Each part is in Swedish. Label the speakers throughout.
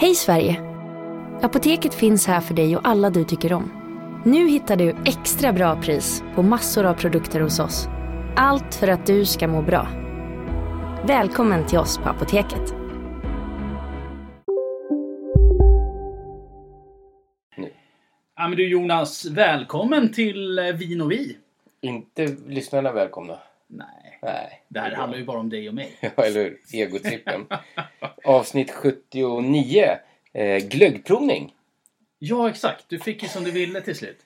Speaker 1: Hej Sverige! Apoteket finns här för dig och alla du tycker om. Nu hittar du extra bra pris på massor av produkter hos oss. Allt för att du ska må bra. Välkommen till oss på Apoteket.
Speaker 2: Ja men du Jonas, välkommen till eh, Vin och vi.
Speaker 3: Inte lyssnarna välkomna.
Speaker 2: Nej,
Speaker 3: Nej.
Speaker 2: det här handlar ju bara om dig och mig.
Speaker 3: Ja, eller hur? Egotrippen. Avsnitt 79. Eh, glöggprovning.
Speaker 2: Ja exakt, du fick ju som du ville till slut.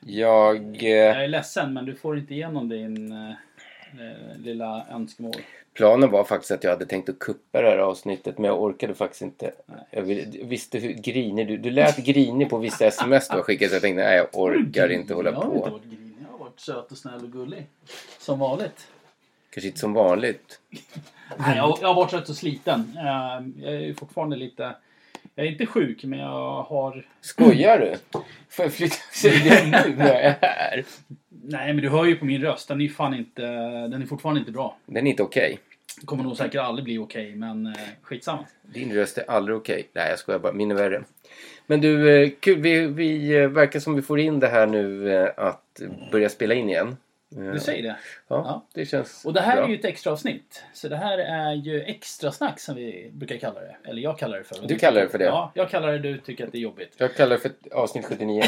Speaker 3: Jag eh,
Speaker 2: Jag är ledsen men du får inte igenom din eh, eh, lilla önskemål.
Speaker 3: planen var faktiskt att jag hade tänkt att kuppa det här avsnittet men jag orkade faktiskt inte. Jag ville- visste hur grinig du... Du lät grinig på vissa sms du har skickat så jag tänkte nej jag orkar inte hålla
Speaker 2: Jag har inte
Speaker 3: på.
Speaker 2: varit grinig, jag har varit söt och snäll och gullig. Som vanligt.
Speaker 3: Kanske inte som vanligt.
Speaker 2: Nej, jag, jag har varit trött och sliten. Eh, Jag är ju fortfarande lite... Jag är inte sjuk, men jag har...
Speaker 3: Skojar du? Får jag flytta sig nu när jag är här?
Speaker 2: Nej, men du hör ju på min röst. Den är ju fan inte... Den är fortfarande inte bra.
Speaker 3: Den är inte okej.
Speaker 2: Det kommer nog säkert aldrig bli okej, men eh, skitsamma.
Speaker 3: Din röst är aldrig okej. Nej, jag skojar bara. Min är värre. Men du, eh, kul. Vi, vi eh, verkar som vi får in det här nu eh, att börja spela in igen. Eh,
Speaker 2: Du säger det.
Speaker 3: Ja,
Speaker 2: Ja.
Speaker 3: det känns
Speaker 2: Och det här
Speaker 3: bra.
Speaker 2: är ju ett extra avsnitt. Så det här är ju extra snack som vi brukar kalla det. Eller jag kallar det för.
Speaker 3: Du kallar det för det?
Speaker 2: Ja, jag kallar det du tycker att det är jobbigt.
Speaker 3: Jag kallar det för ett avsnitt 79.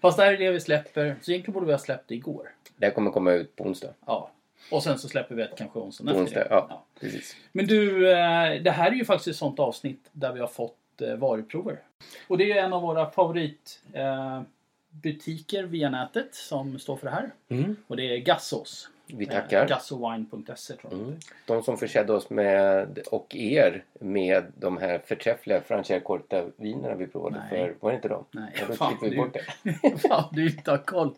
Speaker 2: Fast det här är det vi släpper. Så egentligen borde vi ha släppt det igår.
Speaker 3: det här kommer komma ut på onsdag.
Speaker 2: Ja. Och sen så släpper vi ett kanske onsdagen
Speaker 3: På
Speaker 2: efter
Speaker 3: onsdag,
Speaker 2: det.
Speaker 3: ja.
Speaker 2: Ja.
Speaker 3: Precis.
Speaker 2: Men du, eh, det här är ju faktiskt ett sånt avsnitt där vi har fått eh, varuprover. Och det är ju en av våra favoritbutiker via nätet som står för det här. Och det är Gassos.
Speaker 3: Vi Mm. tackar. Mm.
Speaker 2: Eh, Gassowine.se E tror jag.
Speaker 3: De som försedde oss med, och er, med de här förträffliga Francia Corta-vinerna vi provade
Speaker 2: Nej.
Speaker 3: för, var det inte de?
Speaker 2: Nej,
Speaker 3: ja, då
Speaker 2: fan,
Speaker 3: klipper vi
Speaker 2: du-
Speaker 3: bort det.
Speaker 2: Fan, du inte har koll.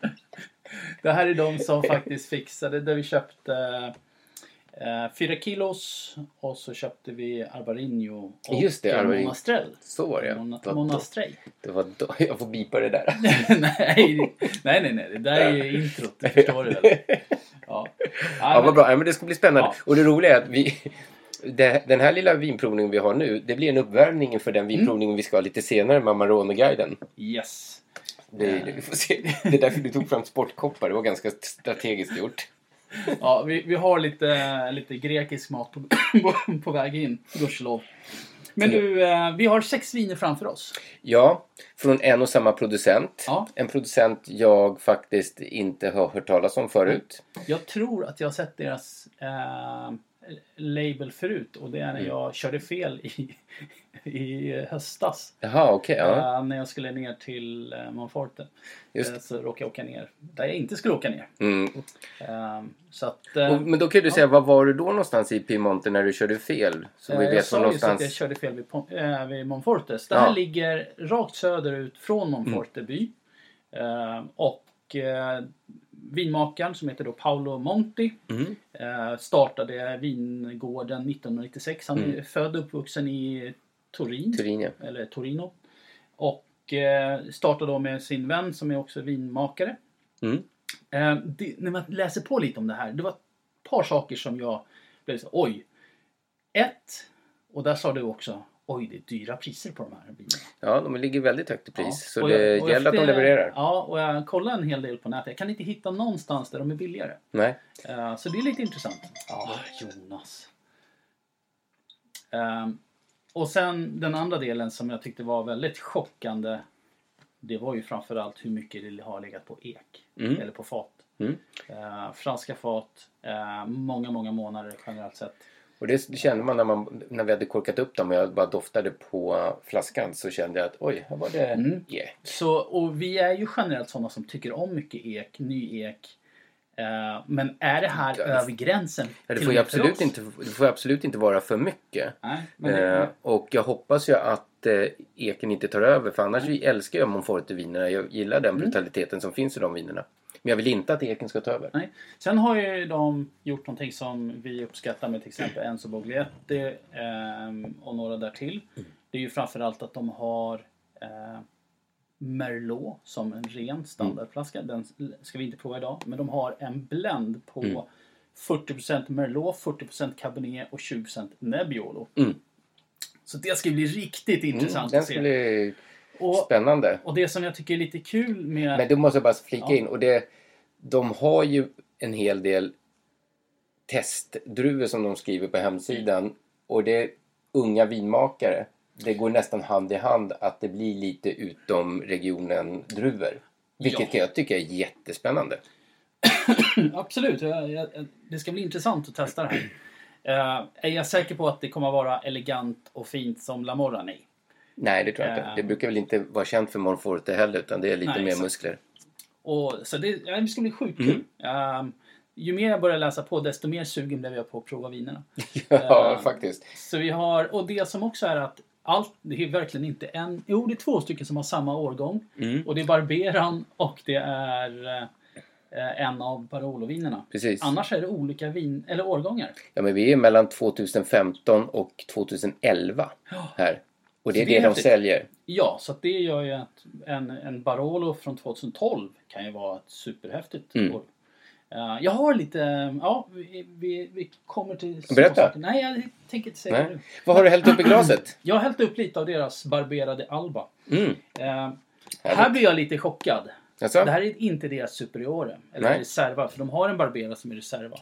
Speaker 2: Det här är de som faktiskt fixade, där vi köpte eh, 4 kilos och så köpte vi Arbarino och
Speaker 3: Just det,
Speaker 2: eh,
Speaker 3: Arbarino.
Speaker 2: Monastrell.
Speaker 3: Så var det ja.
Speaker 2: Mona-
Speaker 3: Det var då-
Speaker 2: Monastrell.
Speaker 3: Det var då. Jag får bipa det där.
Speaker 2: nej, nej, nej, nej, det där är ju introt, det förstår du väl? Ja,
Speaker 3: Ja, vad bra. Ja, men det ska bli spännande.
Speaker 2: Ja.
Speaker 3: Och det roliga är att vi... det- Den här lilla vinprovningen vi har nu, det blir en uppvärmning för
Speaker 2: Mm.
Speaker 3: den vinprovningen vi ska ha lite senare med Amarone-guiden.
Speaker 2: Yes.
Speaker 3: Det, är- vi får se. det är därför du tog fram sportkoppar, det var ganska strategiskt gjort.
Speaker 2: Ja, vi, vi har lite, lite grekisk mat på, på, på väg in, gudskelov. Men du, eh, vi har sex viner framför oss.
Speaker 3: Ja, från en och samma producent.
Speaker 2: Ja.
Speaker 3: En producent jag faktiskt inte har hört talas om förut.
Speaker 2: Jag tror att jag har sett deras eh, label förut och det är när
Speaker 3: Mm.
Speaker 2: jag körde fel i, i höstas.
Speaker 3: Jaha, okej. ja.
Speaker 2: Eh, när jag skulle ner till eh, Monforte.
Speaker 3: Just
Speaker 2: Eh, så råkade jag åka ner där jag inte skulle åka ner.
Speaker 3: mm.
Speaker 2: Eh, så att, eh,
Speaker 3: och, men då kan du säga, vad var du då någonstans i Piemonte när du körde fel? Så vi
Speaker 2: eh, jag
Speaker 3: vet var
Speaker 2: sa ju så att jag
Speaker 3: någonstans...
Speaker 2: körde fel vid, Pon- eh, vid Monfortes. Det här
Speaker 3: Ja. Mm.
Speaker 2: ligger rakt söderut från Monforte by. Eh, och eh, vinmakaren som heter då Paolo Monti
Speaker 3: Mm.
Speaker 2: Eh, startade vingården 1996. Han är född och uppvuxen i Turin,
Speaker 3: Mm. Turin, ja.
Speaker 2: eller Torino. Och eh, startade då med sin vän som är också vinmakare.
Speaker 3: Mm.
Speaker 2: Eh, det, när man läser på lite om det här, det var ett par saker som jag blev så oj. Ett, och där sa du också, oj det är dyra priser på de här bilarna.
Speaker 3: Ja, de ligger väldigt högt i pris.
Speaker 2: Ja.
Speaker 3: Så
Speaker 2: Och
Speaker 3: det
Speaker 2: jag- och jag
Speaker 3: gäller att de
Speaker 2: funderar-
Speaker 3: levererar.
Speaker 2: Ja, och jag kollade en hel del på nätet. Jag kan inte hitta någonstans där de är billigare.
Speaker 3: Nej.
Speaker 2: Eh, Så det är lite intressant. Ja, Jonas. Ehm, och sen den andra delen som jag tyckte var väldigt chockande. Det var ju framförallt hur mycket det har legat på ek.
Speaker 3: Mm.
Speaker 2: Eller på fat.
Speaker 3: Mm.
Speaker 2: Eh, franska fat. eh, många, många månader generellt sett.
Speaker 3: Och det kände man när, man när vi hade korkat upp dem och jag bara doftade på flaskan så kände jag att oj, här var det
Speaker 2: Mm.
Speaker 3: ek.
Speaker 2: Så, och vi är ju generellt sådana som tycker om mycket ek, ny ek. Eh, men är det här
Speaker 3: Ja, det-
Speaker 2: över gränsen?
Speaker 3: Ja, det,
Speaker 2: till
Speaker 3: får
Speaker 2: och
Speaker 3: ju
Speaker 2: med för
Speaker 3: absolut
Speaker 2: oss?
Speaker 3: inte, det får ju absolut inte vara för mycket.
Speaker 2: Nej, men
Speaker 3: eh,
Speaker 2: det,
Speaker 3: och jag hoppas ju att eh, Eken inte tar över för annars älskar jag Monforte-vinerna. Jag gillar
Speaker 2: Mm.
Speaker 3: den brutaliteten som finns i de vinerna. Men jag vill inte att Eken ska ta över.
Speaker 2: nej. Sen har ju de gjort någonting som vi uppskattar med till exempel
Speaker 3: Mm.
Speaker 2: Enzo Boglietti ehm, och några där till.
Speaker 3: Mm.
Speaker 2: Det är ju framförallt att de har eh, Merlot som en ren standardflaska.
Speaker 3: Mm.
Speaker 2: Den ska vi inte prova idag. Men de har en blend på
Speaker 3: Mm.
Speaker 2: 40% Merlot, 40% Cabernet och 20% Nebbiolo.
Speaker 3: Mm.
Speaker 2: Så det ska bli riktigt intressant
Speaker 3: Den
Speaker 2: att se.
Speaker 3: ska bli
Speaker 2: Och,
Speaker 3: spännande.
Speaker 2: och det som jag tycker är lite kul med...
Speaker 3: Men då måste jag bara flika
Speaker 2: Ja.
Speaker 3: in. Och det, de har ju en hel del testdruvor som de skriver på hemsidan. Och det är unga vinmakare. Det går nästan hand i hand att det blir lite utom regionen druvor. Vilket
Speaker 2: Ja.
Speaker 3: jag tycker är jättespännande.
Speaker 2: Absolut, jag, jag, det ska bli intressant att testa det här. Eh, är jag säker på att det kommer vara elegant och fint som La Morra? Nej.
Speaker 3: Nej, det tror jag inte.
Speaker 2: Ja.
Speaker 3: Det brukar väl inte vara känt för Monforte heller utan det är lite
Speaker 2: Eh. Nej,
Speaker 3: mer
Speaker 2: exakt.
Speaker 3: muskler.
Speaker 2: Och, så det, ja, det ska bli sjukt kul. Eh, ju mer jag börjar läsa på, desto mer sugen blev jag på att prova vinerna.
Speaker 3: Ja,
Speaker 2: Eh,
Speaker 3: faktiskt.
Speaker 2: Så vi har, och det som också är att allt, det är verkligen inte en, jo det är två stycken som har samma årgång. Och det är Barberan och det är eh, en av Barolo-vinerna.
Speaker 3: Precis.
Speaker 2: Annars är det olika vin, eller årgångar.
Speaker 3: Ja, men vi är mellan 2015 och 2011 här. Och det är
Speaker 2: Så det är
Speaker 3: det de
Speaker 2: häftigt.
Speaker 3: säljer.
Speaker 2: Ja, så att det gör ju att en, en Barolo från 2012 kan ju vara ett superhäftigt
Speaker 3: Mm.
Speaker 2: år. Eh, jag har lite, ja vi, vi, vi kommer till...
Speaker 3: Berätta.
Speaker 2: småsaker. Nej, jag tänker inte säga det
Speaker 3: Nej.
Speaker 2: nu.
Speaker 3: Vad har du hällt upp i glaset?
Speaker 2: Jag har hällt upp lite av deras barberade Alba.
Speaker 3: Mm.
Speaker 2: Eh, här blir jag lite chockad.
Speaker 3: Alltså?
Speaker 2: Det här är inte deras Superiore, eller
Speaker 3: Nej.
Speaker 2: Reserva, för de har en Barbera som är Reserva.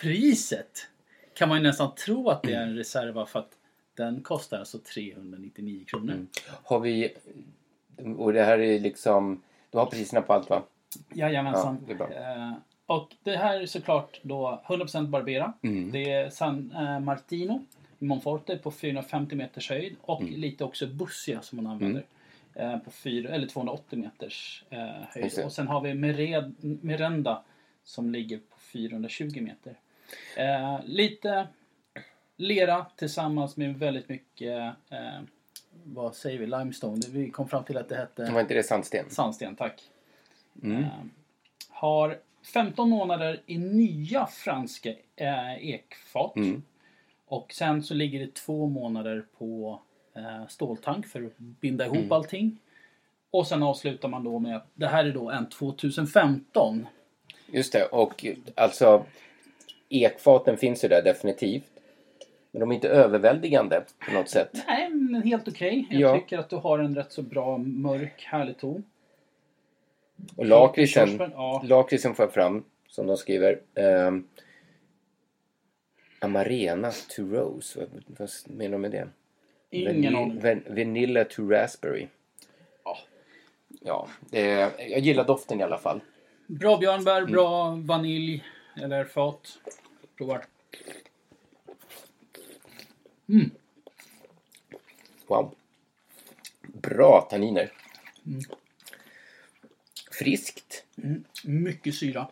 Speaker 2: Priset kan man ju nästan tro att det är en Reserva för att den kostar alltså 399 kronor.
Speaker 3: Mm. Har vi... Och det här är liksom... Du har priserna på allt va?
Speaker 2: Jajamensan.
Speaker 3: Ja, det är bra.
Speaker 2: Eh, och det här är såklart då 100% Barbera.
Speaker 3: Mm.
Speaker 2: Det är San eh, Martino i Monforte på 450 meters höjd och
Speaker 3: Mm.
Speaker 2: lite också Bussia som man använder. Eh, på 4, eller 280 meters eh, höjd.
Speaker 3: Just det.
Speaker 2: Och sen har vi Mered, Merenda som ligger på 420 meter. Eh, lite lera tillsammans med väldigt mycket, eh, vad säger vi, limestone. Vi kom fram till att det hette...
Speaker 3: Var inte det sandsten?
Speaker 2: Sandsten, tack. Eh, har 15 månader i nya franska eh, ekfat. Och sen så ligger det två månader på eh, ståltank för att binda ihop allting. Och sen avslutar man då med att det här är då en 2015.
Speaker 3: Just det. Och alltså... Ekfaten finns ju där definitivt. Men de är inte överväldigande på något sätt.
Speaker 2: Nej, men helt okej. Jag
Speaker 3: Ja.
Speaker 2: tycker att du har en rätt så bra mörk, härlig ton.
Speaker 3: Och lakritsen,
Speaker 2: Körsbär, ja.
Speaker 3: lakritsen får jag fram, som de skriver. ehm, Amarena to Rose, vad, vad menar de med det?
Speaker 2: Ingen
Speaker 3: Vani-
Speaker 2: aning.
Speaker 3: van- vanilla to Raspberry.
Speaker 2: Ja.
Speaker 3: Ja, det, jag gillar doften i alla fall.
Speaker 2: Bra björnbär, bra vanilj eller fat. Provar.
Speaker 3: Wow. Bra tanniner.
Speaker 2: Mm.
Speaker 3: Friskt.
Speaker 2: Mycket syra.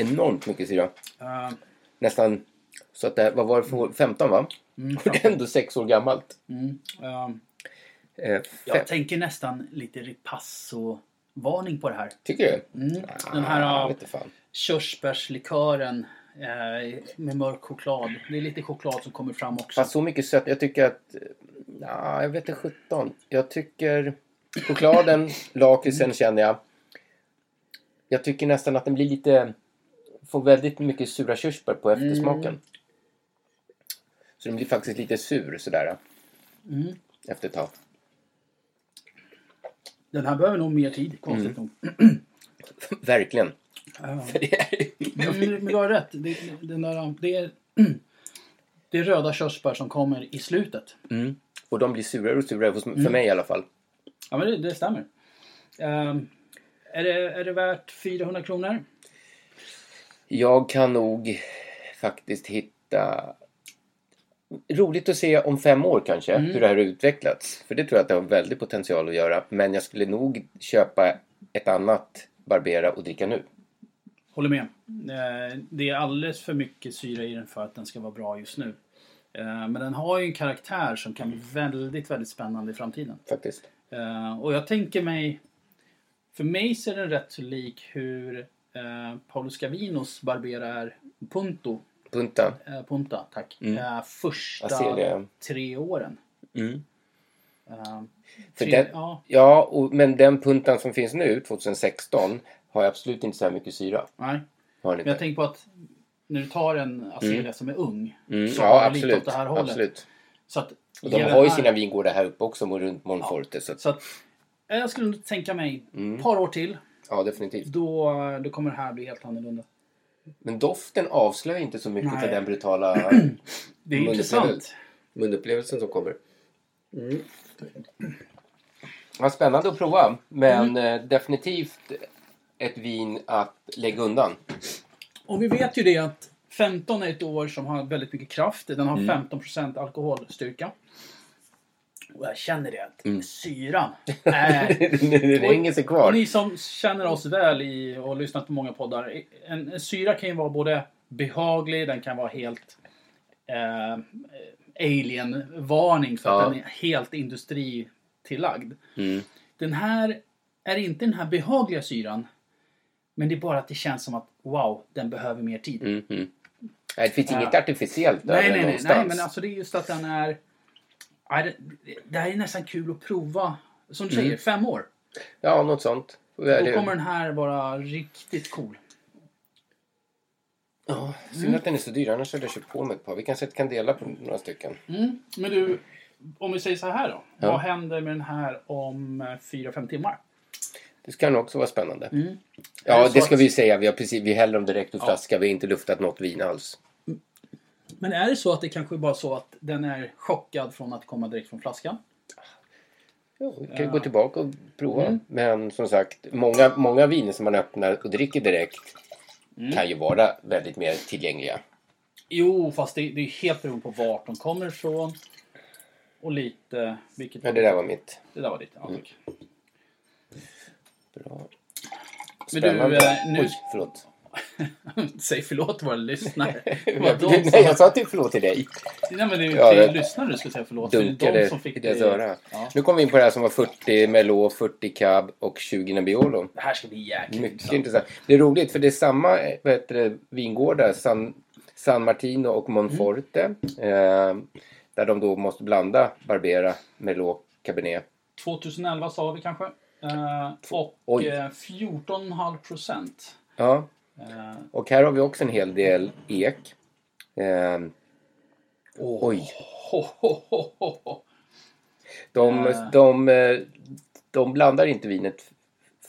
Speaker 3: Enormt mycket syra.
Speaker 2: Eh,
Speaker 3: Nästan så att det här, vad var det för 15 va? Och det är ändå sex år gammalt.
Speaker 2: mm, ehm,
Speaker 3: Eh,
Speaker 2: Jag
Speaker 3: fem,
Speaker 2: tänker nästan lite ripasso-varning på det här.
Speaker 3: tycker du?
Speaker 2: Mm. Den här
Speaker 3: Ah,
Speaker 2: ah,
Speaker 3: vet du fan.
Speaker 2: körsbärslikören eh, med mörk choklad. Det är lite choklad som kommer fram också.
Speaker 3: Fast så mycket sött. Jag tycker att... Nja, jag vet inte 17. Jag tycker... Chokladen, lakritsen känner jag. Jag tycker nästan att den blir lite... Får väldigt mycket sura körsbär på eftersmaken. Så den blir faktiskt lite sur sådär. Mm. Efter ett tag.
Speaker 2: Den här behöver nog mer tid, konstigt
Speaker 3: Mm.
Speaker 2: nog.
Speaker 3: Verkligen.
Speaker 2: Ja.
Speaker 3: För det är...
Speaker 2: Men, men du har rätt. Det, den där, det, är, det är röda körsbär som kommer i slutet.
Speaker 3: Och de blir surare och surare, hos, för mig i alla fall.
Speaker 2: Ja, men det, det stämmer. Ehm, är, det, är det värt 400 kronor?
Speaker 3: Jag kan nog faktiskt hitta... Roligt att se om fem år kanske,
Speaker 2: Mm.
Speaker 3: hur det här har utvecklats. För det tror jag att det har väldigt potential att göra. Men jag skulle nog köpa ett annat Barbera och dricka nu.
Speaker 2: Håller med. Eh, Det är alldeles för mycket syra i den för att den ska vara bra just nu. Eh, Men den har ju en karaktär som kan bli väldigt, väldigt spännande i framtiden.
Speaker 3: faktiskt.
Speaker 2: Eh, Och jag tänker mig... För mig ser den rätt så lik hur eh, Paolo Scavinos Barbera är Punto.
Speaker 3: Punta.
Speaker 2: eh, Punta, tack. Eh,
Speaker 3: Mm. Jag ser
Speaker 2: Första
Speaker 3: det.
Speaker 2: tre åren.
Speaker 3: Mm.
Speaker 2: Eh,
Speaker 3: För
Speaker 2: tre,
Speaker 3: den,
Speaker 2: Ja,
Speaker 3: ja, och, men den puntan som finns nu, 2016, har ju absolut inte så här mycket syra.
Speaker 2: nej.
Speaker 3: Har
Speaker 2: Men
Speaker 3: den
Speaker 2: jag
Speaker 3: inte.
Speaker 2: tänker på att när du tar en Acelia som är ung
Speaker 3: Mm,
Speaker 2: så
Speaker 3: ja,
Speaker 2: har du lite åt
Speaker 3: absolut.
Speaker 2: det här hållet.
Speaker 3: absolut.
Speaker 2: Så att,
Speaker 3: Och de
Speaker 2: ge
Speaker 3: har ju
Speaker 2: den här-
Speaker 3: sina vingårdar här uppe också, runt Monforte. Så att,
Speaker 2: Så att, eh, jag skulle nog tänka mig ett
Speaker 3: Mm.
Speaker 2: par år till.
Speaker 3: ja, definitivt.
Speaker 2: Då, då kommer det här bli helt annorlunda.
Speaker 3: Men doften avslöjar inte så mycket
Speaker 2: Nej.
Speaker 3: av den brutala
Speaker 2: Det är
Speaker 3: Mm, Men det
Speaker 2: intressant.
Speaker 3: munupplevelsen som kommer. Mm. Vad spännande att prova, men
Speaker 2: Mm.
Speaker 3: eh, definitivt ett vin att lägga undan.
Speaker 2: Och vi vet ju det att 15 är ett år som har väldigt mycket kraft. Den har
Speaker 3: Mm.
Speaker 2: 15% alkoholstyrka. Och jag känner det att
Speaker 3: Mm.
Speaker 2: syran. Äh,
Speaker 3: det hänger sig kvar.
Speaker 2: ni som känner oss väl i, och har lyssnat på många poddar. En, en syra kan ju vara både behaglig, den kan vara helt eh, alien-varning för att
Speaker 3: Ja.
Speaker 2: den är helt industritillagd.
Speaker 3: Mm.
Speaker 2: Den här är inte den här behagliga syran. Men det är bara att det känns som att wow, den behöver mer tid.
Speaker 3: Mm, mm. Nej, det finns inget artificiellt där
Speaker 2: Nej,
Speaker 3: eller
Speaker 2: nej, nej,
Speaker 3: någonstans.
Speaker 2: nej, men alltså det är just att den är... Nej, det, det här är nästan kul att prova. Som du säger, fem år.
Speaker 3: Mm. Ja, något sånt. Vad är
Speaker 2: Då
Speaker 3: det?
Speaker 2: kommer den här vara riktigt cool.
Speaker 3: Ja,
Speaker 2: Mm.
Speaker 3: synd att den är så dyr, annars hade jag köpt på mig ett par. Vi kanske kan dela på några stycken.
Speaker 2: Men du, om vi säger så här då. Vad händer med den här om eh, fyra fem timmar?
Speaker 3: Det ska nog också vara spännande.
Speaker 2: Mm. Är
Speaker 3: Ja,
Speaker 2: det så
Speaker 3: det ska
Speaker 2: att-
Speaker 3: vi ju säga. Vi, har precis, vi häller dem direkt ur flaska. Vi har inte luftat något vin alls.
Speaker 2: Men är det så att det kanske bara är så att den är chockad från att komma direkt från flaskan?
Speaker 3: Ja, vi kan ju gå tillbaka och prova.
Speaker 2: Mm.
Speaker 3: Men som sagt, många, många viner som man öppnar och dricker direkt
Speaker 2: Mm.
Speaker 3: kan ju vara väldigt mer tillgängliga.
Speaker 2: Jo, fast det, det är helt beroende på vart de kommer ifrån. Och lite... Vilket,
Speaker 3: Men det där Mm. var mitt.
Speaker 2: det där var lite... Ja, tack.
Speaker 3: Bra.
Speaker 2: Men du,
Speaker 3: Spännande.
Speaker 2: eh, nu-
Speaker 3: Oj, förlåt.
Speaker 2: Säg förlåt till våra lyssnare. Det var de som-
Speaker 3: Nej, jag sa inte förlåt till dig.
Speaker 2: Nej men det är ju
Speaker 3: Ja,
Speaker 2: till
Speaker 3: det-
Speaker 2: lyssnare du ska säga förlåt. för Det är de
Speaker 3: Dunkade
Speaker 2: som fick
Speaker 3: i deras
Speaker 2: dig-
Speaker 3: öra.
Speaker 2: Ja.
Speaker 3: Nu kommer vi in på det här som var 40 Merlot, 40 Cab och 20 Nebbiolo.
Speaker 2: Det här ska bli jäkligt
Speaker 3: Mycket
Speaker 2: intressant.
Speaker 3: intressant. Det är roligt för det är samma eh, vad heter det, vingårdar, San, San Martino och Monforte. Eh, där de då måste blanda Barbera, Merlot, Cabernet.
Speaker 2: 2011 sa vi kanske. Eh, och
Speaker 3: Oj.
Speaker 2: eh, 14,5 procent.
Speaker 3: Ja.
Speaker 2: Eh,
Speaker 3: Och här har vi också en hel del ek. Eh, Oj.
Speaker 2: ho, ho, ho, ho, ho.
Speaker 3: De,
Speaker 2: Eh.
Speaker 3: de, eh, de blandar inte vinet f-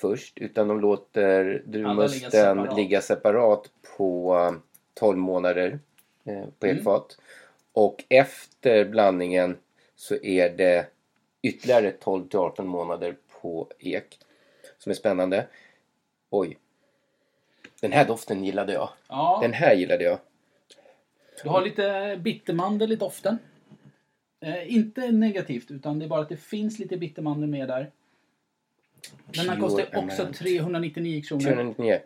Speaker 3: först utan de låter
Speaker 2: Alla ligga
Speaker 3: druvmusten ligga,
Speaker 2: separat.
Speaker 3: separat på eh, 12 månader eh, på
Speaker 2: Mm.
Speaker 3: ekfat. Och efter blandningen så är det ytterligare 12 till 18 månader på ek. Som är spännande. Oj. Den här doften gillade jag.
Speaker 2: Ja,
Speaker 3: Den här gillade jag.
Speaker 2: du har lite bittermandel i doften. Eh, inte negativt, utan det är bara att det finns lite bittermandel med där. Den här
Speaker 3: Pure
Speaker 2: kostar också
Speaker 3: Amaranth.
Speaker 2: 399 kronor.
Speaker 3: 499.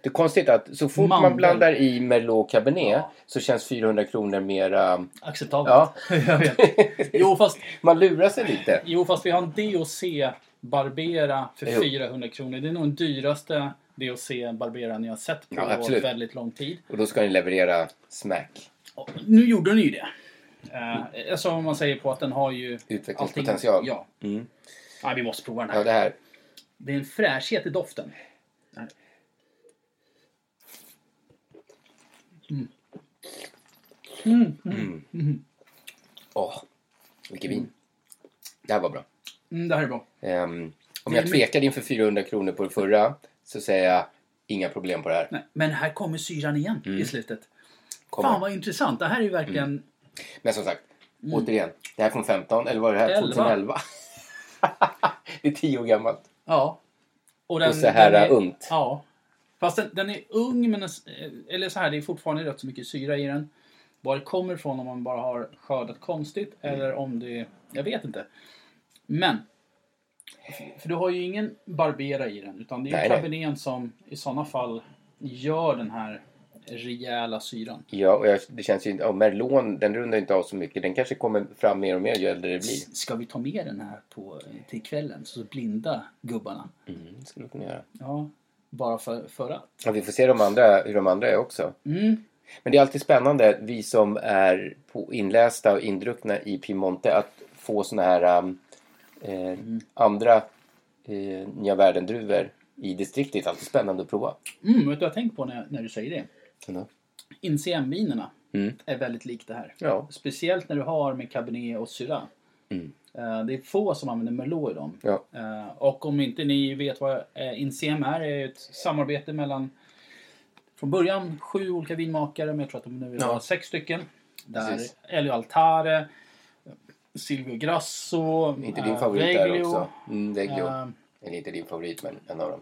Speaker 3: Det är konstigt att så fort
Speaker 2: Mandel.
Speaker 3: man blandar i Merlot och Cabernet så känns 400 kronor mera...
Speaker 2: Acceptabelt.
Speaker 3: Ja.
Speaker 2: Jag vet. Jo, fast
Speaker 3: man lurar sig lite.
Speaker 2: Jo, fast vi har en DOC Barbera för
Speaker 3: Jo.
Speaker 2: 400 kronor. Det är nog den dyraste DOC Barbera ni har sett på
Speaker 3: Ja, absolut.
Speaker 2: väldigt lång tid.
Speaker 3: Och då ska den leverera smack.
Speaker 2: Och Nu gjorde den ju det. Eh, alltså om man säger på att den har ju...
Speaker 3: Utvecklingspotential. Mm.
Speaker 2: allting- Ja. Nej, vi måste prova den här.
Speaker 3: Ja, det här.
Speaker 2: Det är en fräschhet i doften.
Speaker 3: Åh, vilket vin. Det här var bra.
Speaker 2: Mm, det här är bra.
Speaker 3: Ehm, om jag tvekade inför 400 kronor på det förra så säger jag inga problem på det här.
Speaker 2: Nej, men här kommer syran igen i slutet.
Speaker 3: Mm. Kommer. Mm.
Speaker 2: Fan vad intressant. Det här är ju verkligen...
Speaker 3: Men som sagt, återigen. Det här från 15, eller var det här
Speaker 2: Elva.
Speaker 3: 2011? det är 10 år gammalt.
Speaker 2: Ja. den,
Speaker 3: Och så här
Speaker 2: den är,
Speaker 3: ungt.
Speaker 2: Ja. Fast den, den är ung, men den, s- eh, eller så här, det är fortfarande rätt så mycket syra i den. Var det kommer ifrån, om man bara har skördat konstigt
Speaker 3: Mm.
Speaker 2: eller om det... Jag vet inte. Men. För du har ju ingen Barbera i den, utan det är ju
Speaker 3: Nej, nej.
Speaker 2: Cabernet som i sådana fall gör den här rejäla syran.
Speaker 3: Ja, och jag, det känns ju inte... Ja, Merlon, den rundar inte av så mycket. Den kanske kommer fram mer och mer ju äldre det blir.
Speaker 2: S- Ska vi ta med den här på, till kvällen så blinda gubbarna?
Speaker 3: Mm, det skulle vi kunna göra.
Speaker 2: Ja, bara för, för att.
Speaker 3: Ja, vi får se de andra, hur de andra är också.
Speaker 2: Mm.
Speaker 3: Men det är alltid spännande, vi som är på inlästa och indruckna i Piemonte, att få såna här um, eh, andra eh, nya världen-druvor i distriktet. Alltid spännande att prova.
Speaker 2: Mm, vet du vad jag tänkt på när, när du säger det?
Speaker 3: Ändå.
Speaker 2: INCM-vinerna
Speaker 3: Mm.
Speaker 2: är väldigt likt det här.
Speaker 3: Ja.
Speaker 2: Speciellt när du har med cabernet och syrah.
Speaker 3: Mm.
Speaker 2: Eh, Det är få som använder Merlot i dem.
Speaker 3: Ja.
Speaker 2: Eh, Och om inte ni vet vad eh, INCM är, är ett samarbete mellan från början sju olika vinmakare, men jag tror att de nu är
Speaker 3: Ja.
Speaker 2: sex stycken. Där
Speaker 3: Precis.
Speaker 2: Elio Altare, Silvio Grasso,
Speaker 3: Inte din
Speaker 2: eh,
Speaker 3: favorit där
Speaker 2: Veglio,
Speaker 3: också. Mm, Veglio.
Speaker 2: eh,
Speaker 3: Eller inte din favorit, men en av dem.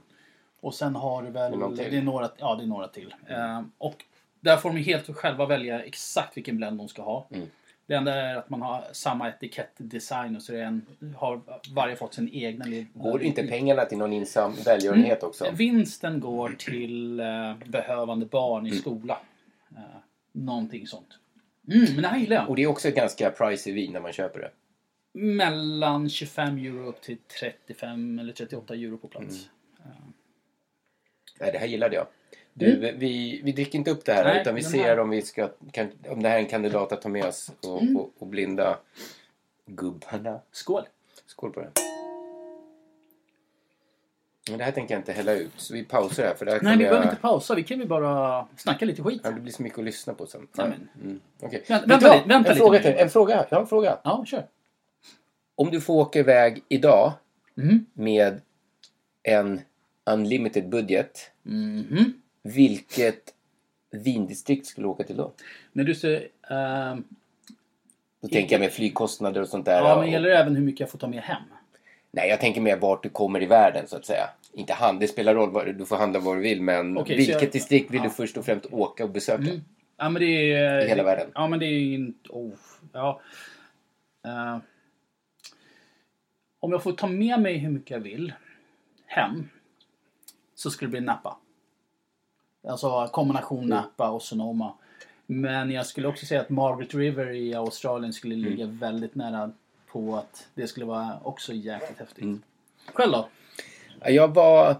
Speaker 2: och sen har du
Speaker 3: Det är någon
Speaker 2: väl,
Speaker 3: till.
Speaker 2: det är några, ja det är några till. Eh, och där får de helt själva välja exakt vilken blend de ska ha.
Speaker 3: Mm.
Speaker 2: Det enda är att man har samma etikettdesign och så är det en, har varje fått sin egna lilla...
Speaker 3: Går inte pengarna till någon insam välgörenhet också?
Speaker 2: Vinsten går till eh, behövande barn i
Speaker 3: Mm.
Speaker 2: skola. Eh, någonting sånt. Mm, men det här gillar
Speaker 3: Och
Speaker 2: jag.
Speaker 3: det är också ett ganska pricey vin när man köper det.
Speaker 2: Mellan 25 euro upp till 35 eller 38 euro på
Speaker 3: Mm.
Speaker 2: plats.
Speaker 3: Nej, det här gillade jag. Du, vi, vi dricker inte upp det här
Speaker 2: Mm. Nej,
Speaker 3: utan vi
Speaker 2: den
Speaker 3: ser
Speaker 2: här- Mm.
Speaker 3: om, vi ska, kan, om det här är en kandidat att ta med oss och, och, och blinda gubbarna.
Speaker 2: Skål!
Speaker 3: Skål på det. Men det här tänker jag inte hälla ut så vi pausar här för det här
Speaker 2: Nej, vi
Speaker 3: jag...
Speaker 2: behöver inte pausa. Vi kan ju bara snacka lite skit.
Speaker 3: Ja, det blir så mycket att lyssna på sen.
Speaker 2: Nej, men-
Speaker 3: Mm. okej.
Speaker 2: Vänta-
Speaker 3: Vet du
Speaker 2: vänta
Speaker 3: vad?
Speaker 2: lite, vänta lite
Speaker 3: en fråga
Speaker 2: nu.
Speaker 3: till. En fråga. Jag har en fråga.
Speaker 2: Ja, kör.
Speaker 3: Om du får åka iväg idag
Speaker 2: Mm.
Speaker 3: med en unlimited budget.
Speaker 2: Mhm.
Speaker 3: Vilket vindistrikt skulle du åka till då?
Speaker 2: När du säger... ehm,
Speaker 3: Då tänker jag med flygkostnader och sånt där.
Speaker 2: ja, men
Speaker 3: och-
Speaker 2: gäller det även hur mycket jag får ta med hem?
Speaker 3: Nej, jag tänker mer vart du kommer i världen så att säga. Inte hand, det spelar roll, vad- du får handla var du vill men
Speaker 2: Okej, så
Speaker 3: vilket
Speaker 2: jag-
Speaker 3: distrikt vill
Speaker 2: ja. Mm.
Speaker 3: du först och främst åka och besöka?
Speaker 2: Ja, men det är...
Speaker 3: I hela världen.
Speaker 2: Ja, men det är inte... Oh, ja. Eh, om jag får ta med mig hur mycket jag vill hem så skulle det bli Napa. Alltså kombination
Speaker 3: Mm.
Speaker 2: Napa och Sonoma. Men jag skulle också säga att Margaret River i Australien skulle
Speaker 3: Mm.
Speaker 2: ligga väldigt nära på att det skulle vara också jäkligt häftigt.
Speaker 3: Mm.
Speaker 2: Själv då?
Speaker 3: Ja, Jag var...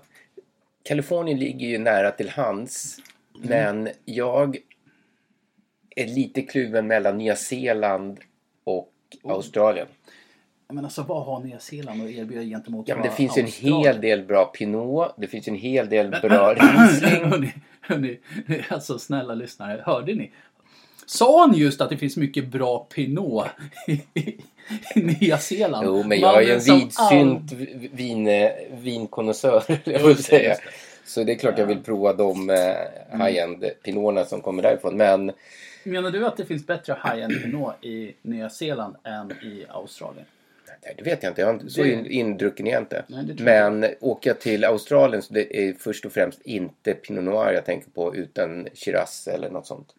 Speaker 3: Kalifornien ligger ju nära till hands
Speaker 2: Mm.
Speaker 3: men jag är lite kluven mellan Nya Zeeland och Australien.
Speaker 2: Men alltså vad har Nya Zeeland att erbjuda gentemot
Speaker 3: Ja, men det
Speaker 2: bara
Speaker 3: finns ju en
Speaker 2: Australien?
Speaker 3: hel del bra Pinot, det finns ju en hel del
Speaker 2: Men-
Speaker 3: bra Riesling.
Speaker 2: hörni, hörni, alltså snälla lyssnare, hörde ni? Sa han just att det finns mycket bra Pinot i, i, i Nya Zeeland? liksom
Speaker 3: Jo, men jag är ju en
Speaker 2: Mannen som
Speaker 3: vidsynt v- vin, eh, vinkonnässör, jag vill säga. Så det är klart jag vill prova de eh,
Speaker 2: Mm.
Speaker 3: high-end pinoterna som kommer därifrån. Men
Speaker 2: all- Menar du att det finns bättre high-end Pinot i Nya Zeeland än i Australien?
Speaker 3: nej, det vet jag inte, jag är inte så
Speaker 2: Det-
Speaker 3: in, indrucken är jag inte.
Speaker 2: Nej, det tror jag
Speaker 3: men åker jag till Australien så det är först och främst inte Pinot Noir jag tänker på utan Shiraz eller något sånt.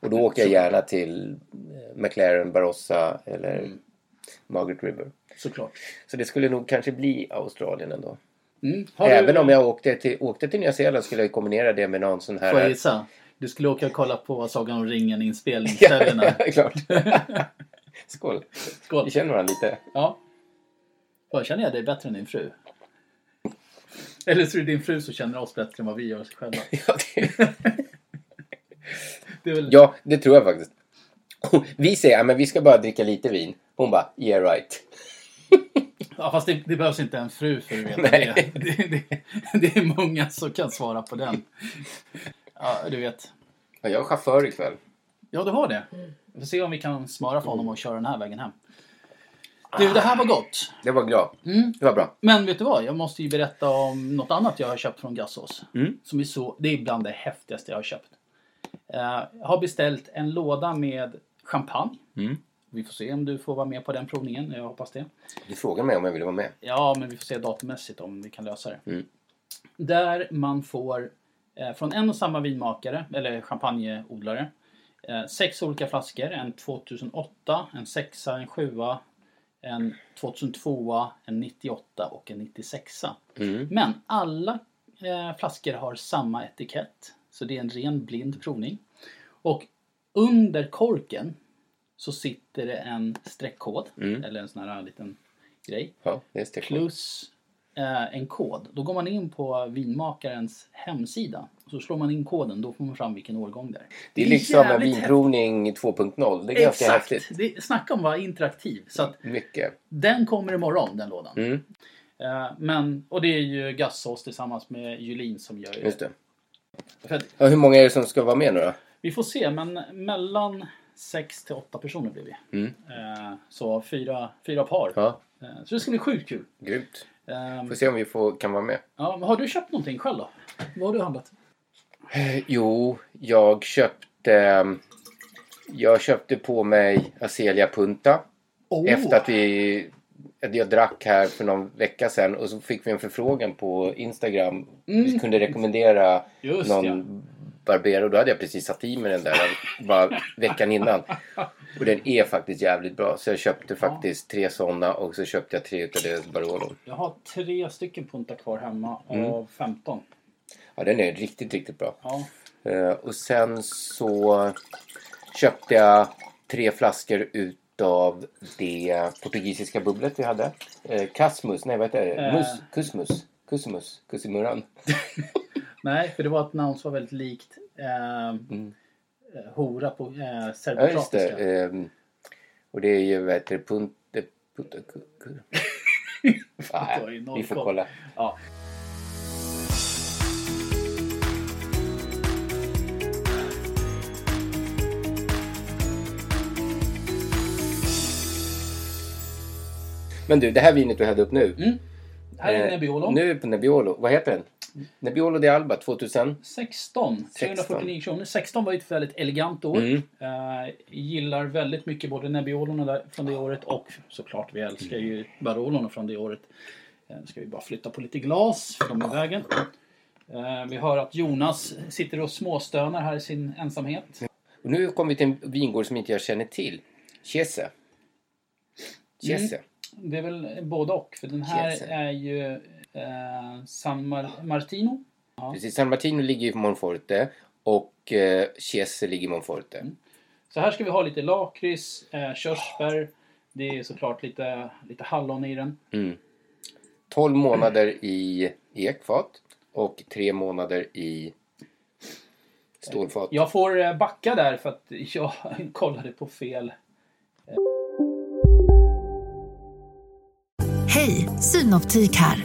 Speaker 3: Och
Speaker 2: Mm,
Speaker 3: då åker jag gärna till eh, McLaren, Barossa eller
Speaker 2: Mm.
Speaker 3: Margaret River.
Speaker 2: Såklart.
Speaker 3: Så det skulle nog kanske bli Australien ändå.
Speaker 2: Mm. Har
Speaker 3: Även
Speaker 2: du,
Speaker 3: om jag åkte till, åkte till Nya Zeeland skulle jag ju kombinera det med någon sån här...
Speaker 2: Får jag gissa? Du skulle åka och kolla på Sagan om ringen
Speaker 3: Ja,
Speaker 2: inspelningsställena.
Speaker 3: ja, klart. Skål.
Speaker 2: Skål.
Speaker 3: Vi känner varandra lite.
Speaker 2: Ja. Fan, Känner jag dig bättre än din fru? Eller så är det din fru som känner oss bättre än vad vi gör oss själva.
Speaker 3: Ja det,
Speaker 2: Det är väl...
Speaker 3: ja, det tror jag faktiskt. Vi säger att vi ska bara dricka lite vin. Hon bara, yeah right.
Speaker 2: Ja, fast det, det behövs inte en fru för att veta
Speaker 3: Nej.
Speaker 2: det. Det, det. Det är många som kan svara på den. Ja, du vet.
Speaker 3: Ja, jag är chaufför ikväll.
Speaker 2: Ja, du har det. Vi får se om vi kan smöra för honom och köra den här vägen hem. Du, det här var gott.
Speaker 3: Det var bra.
Speaker 2: Mm.
Speaker 3: Det var bra.
Speaker 2: Men vet du vad? Jag måste ju berätta om något annat jag har köpt från Gassos.
Speaker 3: Mm.
Speaker 2: Som är så, det är bland det häftigaste jag har köpt. Eh, jag har beställt en låda med champagne.
Speaker 3: Mm.
Speaker 2: Vi får se om du får vara med på den provningen. Jag hoppas det.
Speaker 3: Du frågade mig om jag ville vara med.
Speaker 2: Ja, men vi får se datummässigt om vi kan lösa det.
Speaker 3: Mm.
Speaker 2: Där man får eh, från en och samma vinmakare, eller champagneodlare, eh, sex olika flaskor. En 2008, en 6, en 7, en 2002, en 98 och en 96.
Speaker 3: Mm.
Speaker 2: Men alla eh, flaskor har samma etikett. Så det är en ren blind provning. Och under korken så sitter det en streckkod.
Speaker 3: Mm.
Speaker 2: Eller en sån här liten grej.
Speaker 3: Ja, det är steg två.
Speaker 2: Plus eh, en kod. Då går man in på vinmakarens hemsida. Och så slår man in koden. Då får man fram vilken årgång det är.
Speaker 3: Det är liksom en
Speaker 2: jävligt
Speaker 3: vinprovning 2.0. Det är ganska häftigt.
Speaker 2: Exakt! Det, snacka om att vara interaktiv. Så att
Speaker 3: Mycket.
Speaker 2: den kommer imorgon, den lådan.
Speaker 3: Mm,
Speaker 2: Eh, men, och det är ju Gassås tillsammans med Julin som gör
Speaker 3: just det.
Speaker 2: För att,
Speaker 3: Ja, hur många är det som ska vara med nu då?
Speaker 2: vi får se, men mellan 6 till 8 personer blir vi.
Speaker 3: Mm.
Speaker 2: Eh, så fyra, fyra par.
Speaker 3: Ja,
Speaker 2: Eh, så det ska bli sjukt kul.
Speaker 3: grymt.
Speaker 2: Eh,
Speaker 3: Får se om vi får, kan vara med.
Speaker 2: ja, men har du köpt någonting själv då? Vad har du handlat?
Speaker 3: Eh, Jo, jag köpte... Jag köpte på mig Azelia Punta.
Speaker 2: Oh,
Speaker 3: Efter att vi... att Jag drack här för någon vecka sedan och så fick vi en förfrågan på Instagram. Vi kunde rekommendera
Speaker 2: Mm. Just
Speaker 3: någon
Speaker 2: ja.
Speaker 3: Barbero. Då hade jag precis satt i mig den där bara veckan innan. Och den är faktiskt jävligt bra. Så jag köpte faktiskt tre sådana och så köpte jag tre utav deras Barolo.
Speaker 2: Jag har tre stycken punta kvar hemma
Speaker 3: Mm.
Speaker 2: av 15.
Speaker 3: Ja, den är riktigt, riktigt bra.
Speaker 2: Ja.
Speaker 3: Eh, och sen så köpte jag tre flaskor utav det portugisiska bubblet vi hade. Eh, Kasmus, nej vad heter det?
Speaker 2: Eh.
Speaker 3: Mus, kusmus, kusimus, kusimuran.
Speaker 2: Nej, för det var ett namn som var väldigt likt eh, eh, hora på eh,
Speaker 3: Mm. Ja, just det.
Speaker 2: serbokroatiska.
Speaker 3: Ehm, och det är ju, vad heter det, punt... eh, punt eh, ku- ku-
Speaker 2: Det var ju
Speaker 3: Nej,
Speaker 2: noll
Speaker 3: vi får
Speaker 2: koll.
Speaker 3: kolla.
Speaker 2: Ja.
Speaker 3: Men du, det här vinet du hade upp nu.
Speaker 2: Här är
Speaker 3: eh,
Speaker 2: Mm, Nebbiolo. Mm.
Speaker 3: Nu är vi på Nebbiolo. Vad heter den? Nebbiolo di Alba 2000.
Speaker 2: 16. 349 kronor. 16 var ju ett väldigt elegant år.
Speaker 3: Mm.
Speaker 2: Eh, gillar väldigt mycket både Nebbiolorna där, från det året och såklart vi älskar
Speaker 3: Mm.
Speaker 2: ju Barolorna från det året. Eh, nu ska vi bara flytta på lite glas för de är i vägen. Eh, vi hör att Jonas sitter och småstönar här i sin ensamhet.
Speaker 3: Och nu kommer vi till en vingård som inte jag känner till. Chiese. Chiese.
Speaker 2: Mm, Det är väl både och. För den här
Speaker 3: Chiesa.
Speaker 2: är ju eh, San Mar- Martino.
Speaker 3: Precis, San Martino ligger i Monforte och eh, Chiese ligger i Monforte.
Speaker 2: Mm. Så här ska vi ha lite lakrits, eh, körsbär. Det är såklart lite, lite hallon i den.
Speaker 3: 12 månader i ekfat och 3 månader i stålfat.
Speaker 2: Jag får eh, backa där för att jag kollade på fel.
Speaker 4: Hej, Synoptik här.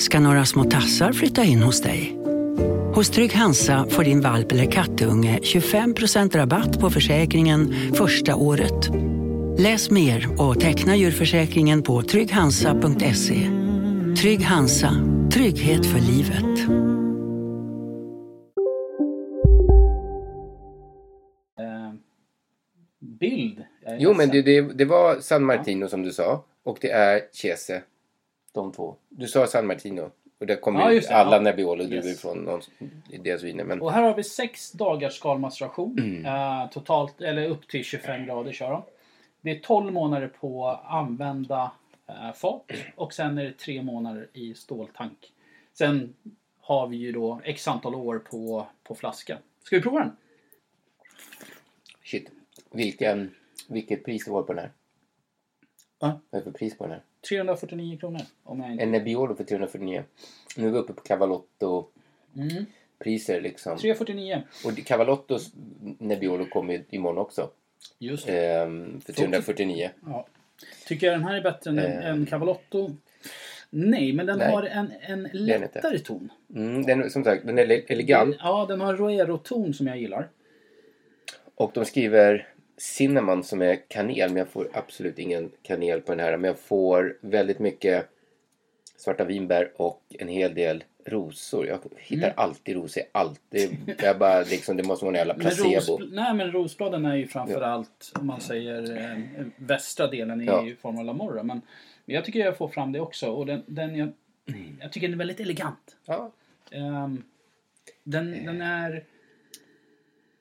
Speaker 5: ska några små tassar flytta in hos dig. Hos Trygg Hansa får din valp eller kattunge 25% rabatt på försäkringen första året. Läs mer och teckna djurförsäkringen på trygghansa.se. Trygg Hansa, trygghet för livet.
Speaker 2: bild. Jag är
Speaker 3: Jo, men det,
Speaker 2: ledsen.
Speaker 3: det, det var San Martino som du sa och det är Chiese. De två. Du sa San Martino och där kommer
Speaker 2: Ja,
Speaker 3: ju
Speaker 2: just det,
Speaker 3: alla
Speaker 2: ja.
Speaker 3: Nebbiolo druvor
Speaker 2: Yes.
Speaker 3: från någon, i deras viner. Men
Speaker 2: Och här har vi sex dagars skalmaceration.
Speaker 3: Mm.
Speaker 2: Eh, totalt, eller upp till 25 grader kör de. Det är 12 månader på använda eh, fat och sen är det tre månader i ståltank. Sen har vi ju då x antal år på, på flaska. Ska vi prova den?
Speaker 3: shit, vilken, vilket pris det var på den här?
Speaker 2: Ja.
Speaker 3: Vad är det för pris på den här?
Speaker 2: 349 kronor. Om jag inte...
Speaker 3: En Nebbiolo för 349. Nu är vi uppe på Cavalotto-priser
Speaker 2: Mm.
Speaker 3: liksom.
Speaker 2: 349.
Speaker 3: Och Cavalottos Nebbiolo kommer ju imorgon också.
Speaker 2: Just det.
Speaker 3: Ehm, för 349.
Speaker 2: Ja. Tycker jag den här är bättre än, än Cavalotto? Nej, men den
Speaker 3: Eh. Nej.
Speaker 2: har en, en
Speaker 3: inte.
Speaker 2: lättare ton.
Speaker 3: Mm, den, som sagt, den är ele- elegant.
Speaker 2: Ja, den har en roero-ton som jag gillar.
Speaker 3: Och de skriver cinnamon som är kanel, men jag får absolut ingen kanel på den här. Men jag får väldigt mycket svarta vinbär och en hel del rosor. Jag hittar
Speaker 2: Mm.
Speaker 3: alltid rosor, alltid. Jag bara, liksom, det måste vara en jävla
Speaker 2: Men,
Speaker 3: placebo.
Speaker 2: ros, nej, men rosbladen är ju framförallt, om man säger, eh, västra delen i
Speaker 3: Ja.
Speaker 2: form av Lamorra. Men men jag tycker jag får fram det också. Och den, den jag, jag tycker den är väldigt elegant.
Speaker 3: Ja,
Speaker 2: Ehm, den, den är...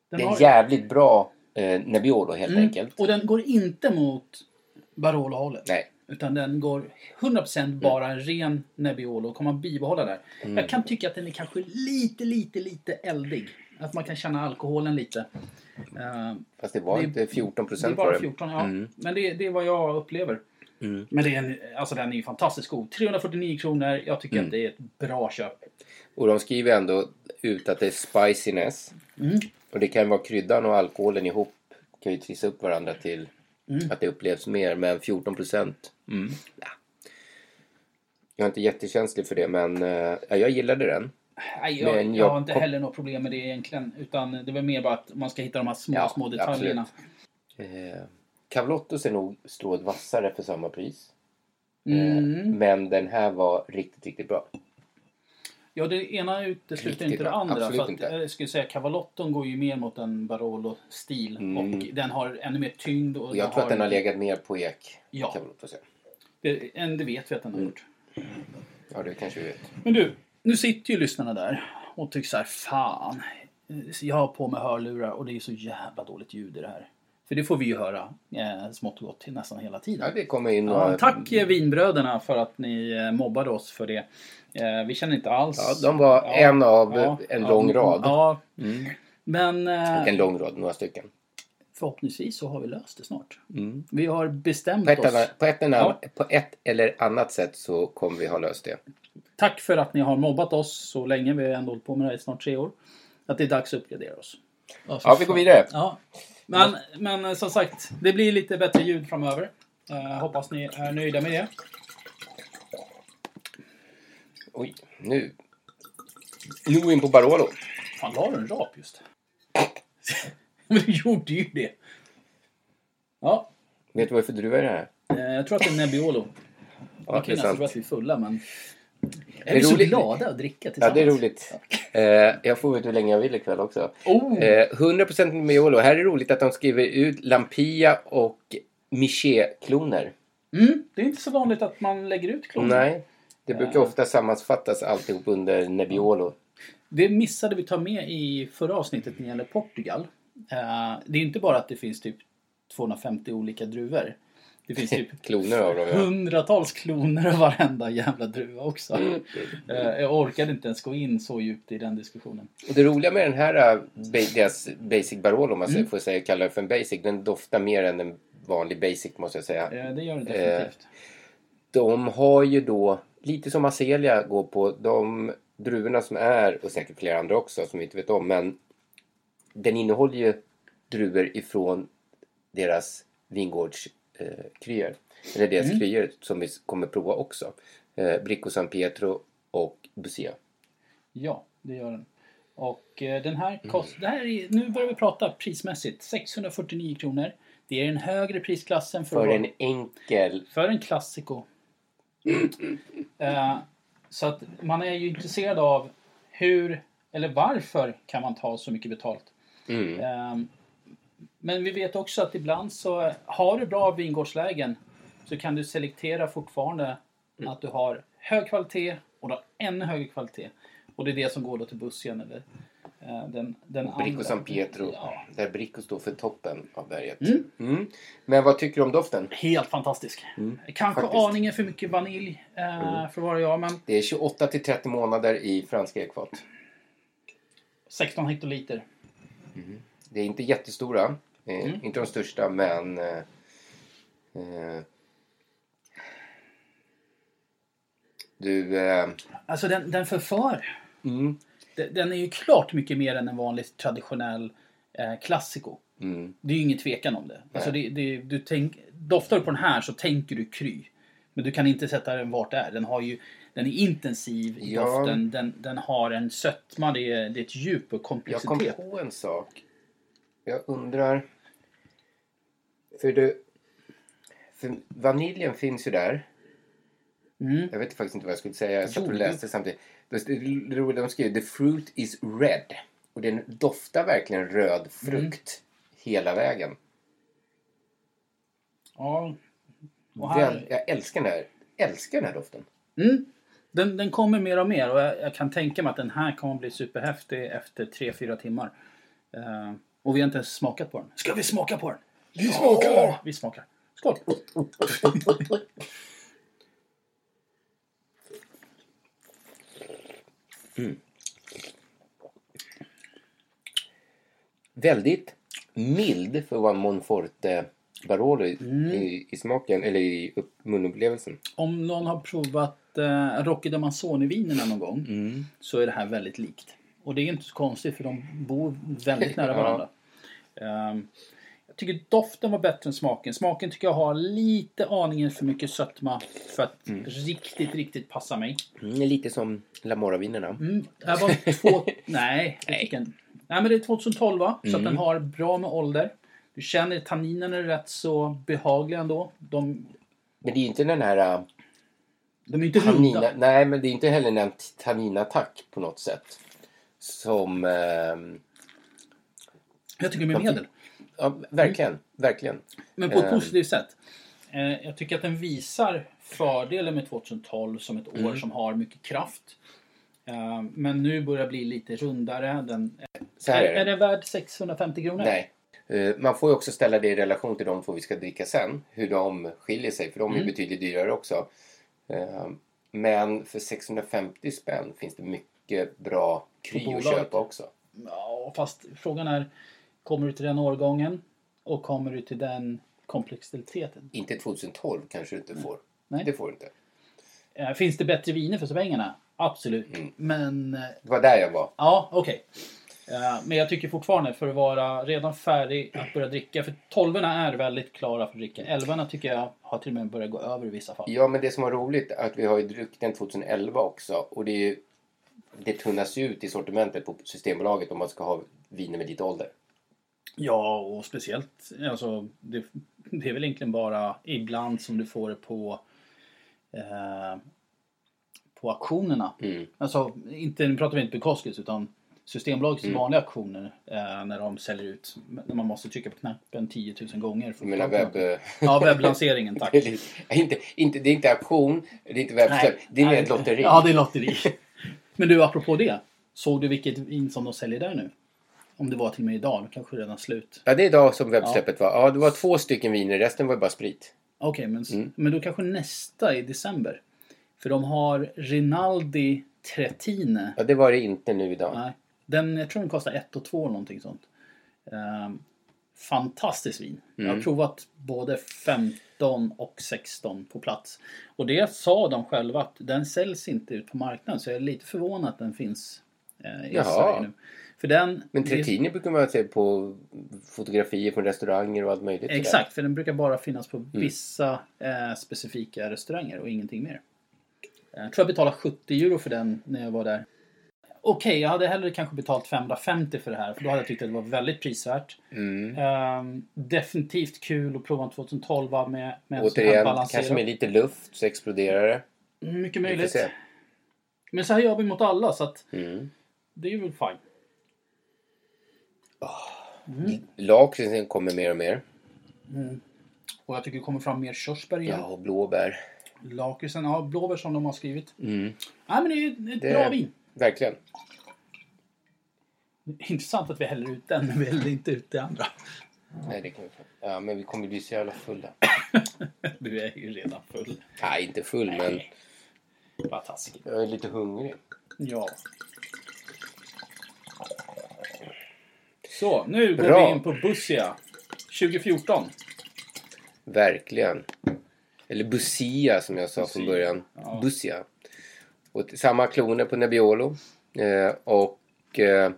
Speaker 2: Den
Speaker 3: Eh. det är
Speaker 2: har- Mm.
Speaker 3: en jävligt bra eh, Nebbiolo helt enkelt.
Speaker 2: Och den går inte mot Barolo-hållet.
Speaker 3: Nej. Mm.
Speaker 2: Utan den går 100% bara en ren Nebbiolo och kommer att bibehålla där. Jag kan tycka att den är kanske lite, lite, lite eldig. Att man kan känna alkoholen lite. Eh,
Speaker 3: Fast det var
Speaker 2: Det är-
Speaker 3: inte 14
Speaker 2: det är
Speaker 3: procent
Speaker 2: bara
Speaker 3: det. Mm.
Speaker 2: 14, ja. Men det, det är vad jag upplever. Men det är en, alltså den är ju fantastiskt god. 349 kronor. Jag
Speaker 3: Mm.
Speaker 2: tycker att det är ett bra köp.
Speaker 3: Och de skriver ändå ut att det är spiciness.
Speaker 2: Mm.
Speaker 3: Och det kan vara kryddan och alkoholen ihop. Kan ju trissa upp varandra till
Speaker 2: Mm.
Speaker 3: att det upplevs mer. Men 14 procent. mm. Ja. Jag är inte jättekänslig för det men eh, ja, jag gillade den.
Speaker 2: Nej, jag,
Speaker 3: Men
Speaker 2: jag,
Speaker 3: jag
Speaker 2: har inte
Speaker 3: kom-
Speaker 2: heller något problem med det egentligen. Utan det var mer bara att man ska hitta de här små,
Speaker 3: Ja,
Speaker 2: små detaljerna.
Speaker 3: Eh, Cavlottos är nog strået vassare för samma pris. Eh,
Speaker 2: Mm.
Speaker 3: Men den här var riktigt, riktigt bra.
Speaker 2: Ja, det ena utesluter
Speaker 3: Riktigt
Speaker 2: inte det
Speaker 3: bra.
Speaker 2: andra.
Speaker 3: Absolut
Speaker 2: för att,
Speaker 3: inte.
Speaker 2: eh, Jag skulle säga Cavalotton går ju mer mot en Barolo-stil. Och den har ännu mer tyngd. Och
Speaker 3: Och Mm. jag tror att den har legat mer på ek.
Speaker 2: Ja.
Speaker 3: Cavlottos, ja.
Speaker 2: Det, en, det vet vi att den
Speaker 3: Mm.
Speaker 2: har gjort.
Speaker 3: ja, det kanske vi vet.
Speaker 2: Men du, nu sitter ju lyssnarna där och tycker så här, fan. eh, Jag har på mig hörlurar och det är så jävla dåligt ljud i det här. För det får vi ju höra eh, smått och gott till nästan hela tiden.
Speaker 3: Ja, det kommer in några...
Speaker 2: Ja, tack eh, vinbröderna för att ni eh, mobbade oss för det. Eh, Vi känner inte alls...
Speaker 3: Ja, de var en av eh, en lång rad. Mm.
Speaker 2: Ja. Men eh,
Speaker 3: Och en lång rad, några stycken.
Speaker 2: förhoppningsvis så har vi löst det snart.
Speaker 3: Mm.
Speaker 2: Vi har bestämt
Speaker 3: På ett,
Speaker 2: oss.
Speaker 3: eller, på, ett eller annan, på ett eller annat sätt så kommer vi ha löst det.
Speaker 2: Tack för att ni har mobbat oss så länge. Vi har ändå hållit på med det här i snart tre år. Att det är dags att uppgradera oss.
Speaker 3: Ja, vi går vidare.
Speaker 2: Ja. Men, men eh, som sagt, det blir lite bättre ljud framöver. Eh, hoppas ni är nöjda med det.
Speaker 3: Oj, nu. Nu går vi in på Barolo.
Speaker 2: Fan, la du en rap just? Men du gjorde ju det. Ja,
Speaker 3: Vet du vad det är alltså, för druva i det här?
Speaker 2: eh, jag tror att det är Nebbiolo.
Speaker 3: Ja,
Speaker 2: Man kan
Speaker 3: det är
Speaker 2: ju nästan tro
Speaker 3: sant.
Speaker 2: att vi är fulla, men... Är
Speaker 3: är
Speaker 2: vi så
Speaker 3: roligt.
Speaker 2: glada att dricka tillsammans?
Speaker 3: Ja, det är roligt. Eh, jag får ut hur länge jag vill ikväll också.
Speaker 2: Oh.
Speaker 3: Eh, 100% Nebbiolo. Här är det roligt att de skriver ut Lampia och Miché-kloner.
Speaker 2: Mm, det är inte så vanligt att man lägger ut kloner.
Speaker 3: Nej, det brukar ofta sammanfattas alltihop under Nebbiolo.
Speaker 2: Det missade vi ta med i förra avsnittet när det gäller Portugal. Eh, det är ju inte bara att det finns typ 250 olika druvor. Det finns typ
Speaker 3: Kloner av dem, ja.
Speaker 2: hundratals kloner av varenda jävla druva också. Eh, jag orkade inte ens gå in så djupt i den diskussionen.
Speaker 3: Och det roliga med den här äh, ba- deras Basic Barolo, om man mm. får säga, kalla det för en Basic, den doftar mer än en vanlig Basic måste jag säga.
Speaker 2: Eh, det gör det definitivt.
Speaker 3: De har ju då, lite som Azelia går på, de druvorna som är, och säkert flera andra också som vi inte vet om, men den innehåller ju druvor ifrån deras vingårdskryer. Eh, kryor. eller deras kryor som vi s- kommer prova också. Eh, Bricco San Pietro och Busia.
Speaker 2: Ja, det gör den. Och eh, den här kost... Det här är, nu börjar vi prata prismässigt. 649 kronor. Det är den högre prisklassen för,
Speaker 3: För
Speaker 2: att-
Speaker 3: en enkel
Speaker 2: för en klassiko. Eh, så att man är ju intresserad av hur eller varför kan man ta så mycket betalt?
Speaker 3: Mm.
Speaker 2: Eh, men vi vet också att ibland så har du bra vingårdslägen så kan du selektera fortfarande
Speaker 3: Mm.
Speaker 2: att du har hög kvalitet och du har ännu högre kvalitet. Och det är det som går då till bussen eller eh, den, den
Speaker 3: Bricco
Speaker 2: andra.
Speaker 3: San Pietro,
Speaker 2: Ja,
Speaker 3: där Bricco står för toppen av berget. Mm. Men vad tycker du om doften?
Speaker 2: helt fantastisk. Kanske
Speaker 3: Mm. faktiskt. Mm.
Speaker 2: aningen för mycket vanilj eh, för att vara jag, men
Speaker 3: Det är 28 till 30 månader i franska ekfat.
Speaker 2: 16 hektoliter.
Speaker 3: Det är inte jättestora, eh, inte de största, men... Eh, eh, du... Eh,
Speaker 2: Alltså den, den förför.
Speaker 3: mm,
Speaker 2: Den, den är ju klart mycket mer än en vanlig traditionell eh, klassiko.
Speaker 3: mm,
Speaker 2: Det är ju ingen tvekan om det. Alltså det, det du tänk, doftar du på den här så tänker du kry. Men du kan inte sätta den vart det är. Den, har ju, den är intensiv i
Speaker 3: Ja.
Speaker 2: doften. Den, den har en sötma, det är, det är ett djup och
Speaker 3: jag kom
Speaker 2: komplexitet.
Speaker 3: på en sak. Jag undrar... För du... För vaniljen finns ju där.
Speaker 2: Mm.
Speaker 3: Jag vet faktiskt inte vad jag skulle säga. Jag satt och
Speaker 2: Jo,
Speaker 3: läste samtidigt. Det är roligt, de skriver The fruit is red. Och den doftar verkligen röd frukt hela vägen.
Speaker 2: Ja. Och
Speaker 3: Den,
Speaker 2: här,
Speaker 3: jag älskar den här, älskar den här doften.
Speaker 2: mm, den, den kommer mer och mer och jag, jag kan tänka mig att den här kommer bli superhäftig efter 3-4 timmar. Eh, och vi har inte ens smakat på den. Ska vi smaka på den? Vi smakar! vi smakar. Skål!
Speaker 3: Väldigt mild för att vara Monforte Barolo i, i, i smaken, eller i upp, munupplevelsen.
Speaker 2: Om någon har provat eh, Rocky D'Amanzoni-vinerna någon gång så är det här väldigt likt. Och det är inte så konstigt för de bor väldigt nära
Speaker 3: Ja.
Speaker 2: varandra. Ehm, jag tycker doften var bättre än smaken. Smaken tycker jag har lite aningen för mycket sötma för att riktigt, riktigt passa mig.
Speaker 3: Mm, lite som Lamora-vinerna.
Speaker 2: Mm, det här var två... nej, jag Mm. tycker inte. Nej, men det är 2012 va? så att den har bra med ålder. Du känner tanninerna är rätt så behagliga ändå. De,
Speaker 3: Men det är ju inte den här... äh,
Speaker 2: de är inte runda.
Speaker 3: Tannina, nej, men det är inte heller en tanninattack på något sätt. Som... ehm,
Speaker 2: Jag tycker de är medel.
Speaker 3: ja, verkligen. Verkligen.
Speaker 2: Men på ett
Speaker 3: Eh.
Speaker 2: positivt sätt. Eh, Jag tycker att den visar fördelen med 2012 som ett år som har mycket kraft. Eh, Men nu börjar det bli lite rundare. Den,
Speaker 3: Så
Speaker 2: är,
Speaker 3: här
Speaker 2: är
Speaker 3: är det.
Speaker 2: den värd 650 kronor?
Speaker 3: Nej. Eh, Man får ju också ställa det i relation till de två vi ska dricka sen. Hur de skiljer sig, för de är
Speaker 2: Mm.
Speaker 3: ju betydligt dyrare också. Eh, Men för 650 spänn finns det mycket bra kry att
Speaker 2: bolaget.
Speaker 3: köpa också.
Speaker 2: Ja, fast frågan är, kommer du till den årgången och kommer du till den komplexiteten?
Speaker 3: Inte 2012 kanske du inte får.
Speaker 2: Nej.
Speaker 3: Det får du inte.
Speaker 2: Eh, Finns det bättre viner för pengarna? Absolut. Men eh,
Speaker 3: Det var där jag var.
Speaker 2: Ja, okej. Eh, Men jag tycker fortfarande, för att vara redan färdig att börja dricka, för tolvorna är väldigt klara för att dricka. Elvorna tycker jag har till och med börjat gå över i vissa fall.
Speaker 3: Ja, men det som var roligt är att vi har ju druckit den 2011 också. Och det, är ju, det tunnas ju ut i sortimentet på Systembolaget om man ska ha viner med lite ålder.
Speaker 2: Ja, och speciellt, alltså, det, det är väl egentligen bara ibland som du får det på eh, på auktionerna.
Speaker 3: Mm.
Speaker 2: Alltså, inte, nu pratar vi inte Bukowskis utan Systembolagets
Speaker 3: Mm.
Speaker 2: vanliga auktioner eh, när de säljer ut, när man måste trycka på knappen 10 000 gånger. För
Speaker 3: Jag menar
Speaker 2: att få upp
Speaker 3: webb...
Speaker 2: någonting. Ja, webblanseringen, tack.
Speaker 3: inte, inte, det är inte auktion, det är inte webbköp. Det är mer ett lotteri.
Speaker 2: Ja, det är lotteri. Men du, apropå det. Såg du vilket vin som de säljer där nu? Om det var till och med idag, då kanske redan slut.
Speaker 3: Ja, det är idag som webbsläppet var. Ja, det var två stycken viner, resten var ju bara sprit.
Speaker 2: Okej, men,
Speaker 3: Mm.
Speaker 2: men då kanske nästa i december. För de har Rinaldi Tretine.
Speaker 3: Ja, det var det inte nu idag.
Speaker 2: Nej, den, jag tror den kostar 1 och 2 eller någonting sånt. Ehm, fantastiskt vin. Jag
Speaker 3: Mm.
Speaker 2: har provat både 15 och 16 på plats. Och det sa de själva att den säljs inte ut på marknaden. Så jag är lite förvånad att den finns eh, i
Speaker 3: Jaha.
Speaker 2: Sverige nu. För den,
Speaker 3: Men
Speaker 2: det-
Speaker 3: Tretini brukar man se på fotografier från restauranger och allt möjligt.
Speaker 2: Exakt, för den brukar bara finnas på
Speaker 3: Mm.
Speaker 2: vissa eh, specifika restauranger och ingenting mer. Eh, Jag tror jag betalade 70 euro för den när jag var där. Okej, jag hade hellre kanske betalat 550 för det här, för då hade jag tyckt att det var väldigt prisvärt.
Speaker 3: Mm.
Speaker 2: Ehm, definitivt kul att prova en 2012 med, med en sån här
Speaker 3: Återigen,
Speaker 2: balanserad-
Speaker 3: kanske med lite luft så exploderar det.
Speaker 2: Mycket
Speaker 3: Vi får
Speaker 2: möjligt.
Speaker 3: se.
Speaker 2: Men så här gör vi mot alla, så att
Speaker 3: Mm.
Speaker 2: det är väl fine.
Speaker 3: Lakritsen kommer mer och mer.
Speaker 2: Och jag tycker det kommer fram mer körsbär igen.
Speaker 3: Ja, och blåbär.
Speaker 2: Lakritsen, ja, blåbär som de har skrivit. Nej, men det är ett
Speaker 3: Mm. Det-
Speaker 2: bra vin.
Speaker 3: Verkligen.
Speaker 2: Intressant att vi häller ut den, men vi häller inte ut det andra.
Speaker 3: Nej, det kan vi få. Ja, men vi kommer bli så jävla fulla.
Speaker 2: Du är ju redan full.
Speaker 3: Nej, inte full, men
Speaker 2: Vad taskigt.
Speaker 3: jag är lite hungrig.
Speaker 2: Ja. Så, nu går
Speaker 3: Bra.
Speaker 2: vi in på Bussia. 2014.
Speaker 3: Verkligen. Eller Bussia som jag sa från
Speaker 2: Bussia,
Speaker 3: början. Bussia. Och t- samma kloner på Nebbiolo. Eh, och eh,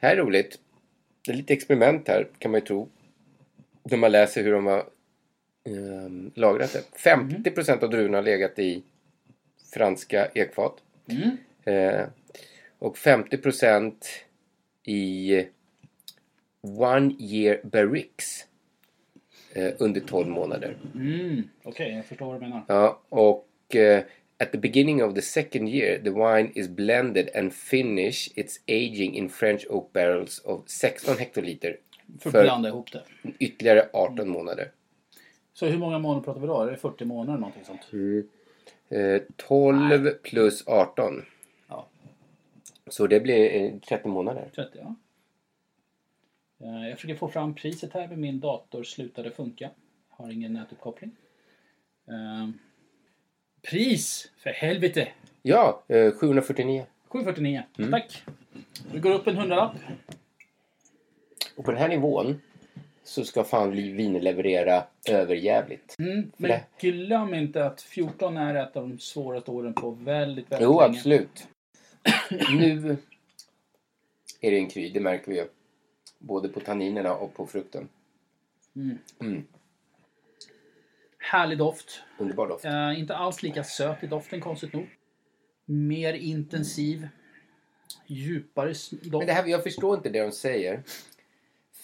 Speaker 3: här är roligt. Det är lite experiment här kan man ju tro. När man läser hur de har eh, lagrat det. 50 procent av druvorna har legat i franska ekfat. Eh, och 50 procent i One Year Barricks. eh, under 12 månader.
Speaker 2: Mm, Okej, jag förstår vad du menar.
Speaker 3: Ja, och eh, at the beginning of the second year the wine is blended and finish its aging in French oak barrels of 16 hektoliter
Speaker 2: För att
Speaker 3: för
Speaker 2: blanda ihop det.
Speaker 3: ytterligare 18 månader.
Speaker 2: Så hur många månader pratar vi då? Är det 40 månader eller någonting sånt?
Speaker 3: Eh, 12 plus 18.
Speaker 2: Ja.
Speaker 3: Så det blir eh, 30 månader.
Speaker 2: 30, ja. Eh, Jag försöker få fram priset här men min dator slutade funka. Har ingen nätuppkoppling. Eh, Pris! För helvete!
Speaker 3: Ja, eh, 749.
Speaker 2: 749.
Speaker 3: Mm.
Speaker 2: Tack! Vi går upp en hundralapp.
Speaker 3: Och på den här nivån så ska fan vin leverera överjävligt.
Speaker 2: Mm.
Speaker 3: För
Speaker 2: Men
Speaker 3: det-
Speaker 2: glöm inte att 14 är ett av de svåraste åren på väldigt, väldigt
Speaker 3: Jo,
Speaker 2: länge.
Speaker 3: absolut. nu är det en kry, det märker vi ju. Både på tanninerna och på frukten.
Speaker 2: Härlig doft.
Speaker 3: Underbar doft.
Speaker 2: Eh, inte alls lika söt i doften konstigt nog. Mer intensiv. Djupare s- doft.
Speaker 3: Men det här, jag förstår inte det de säger.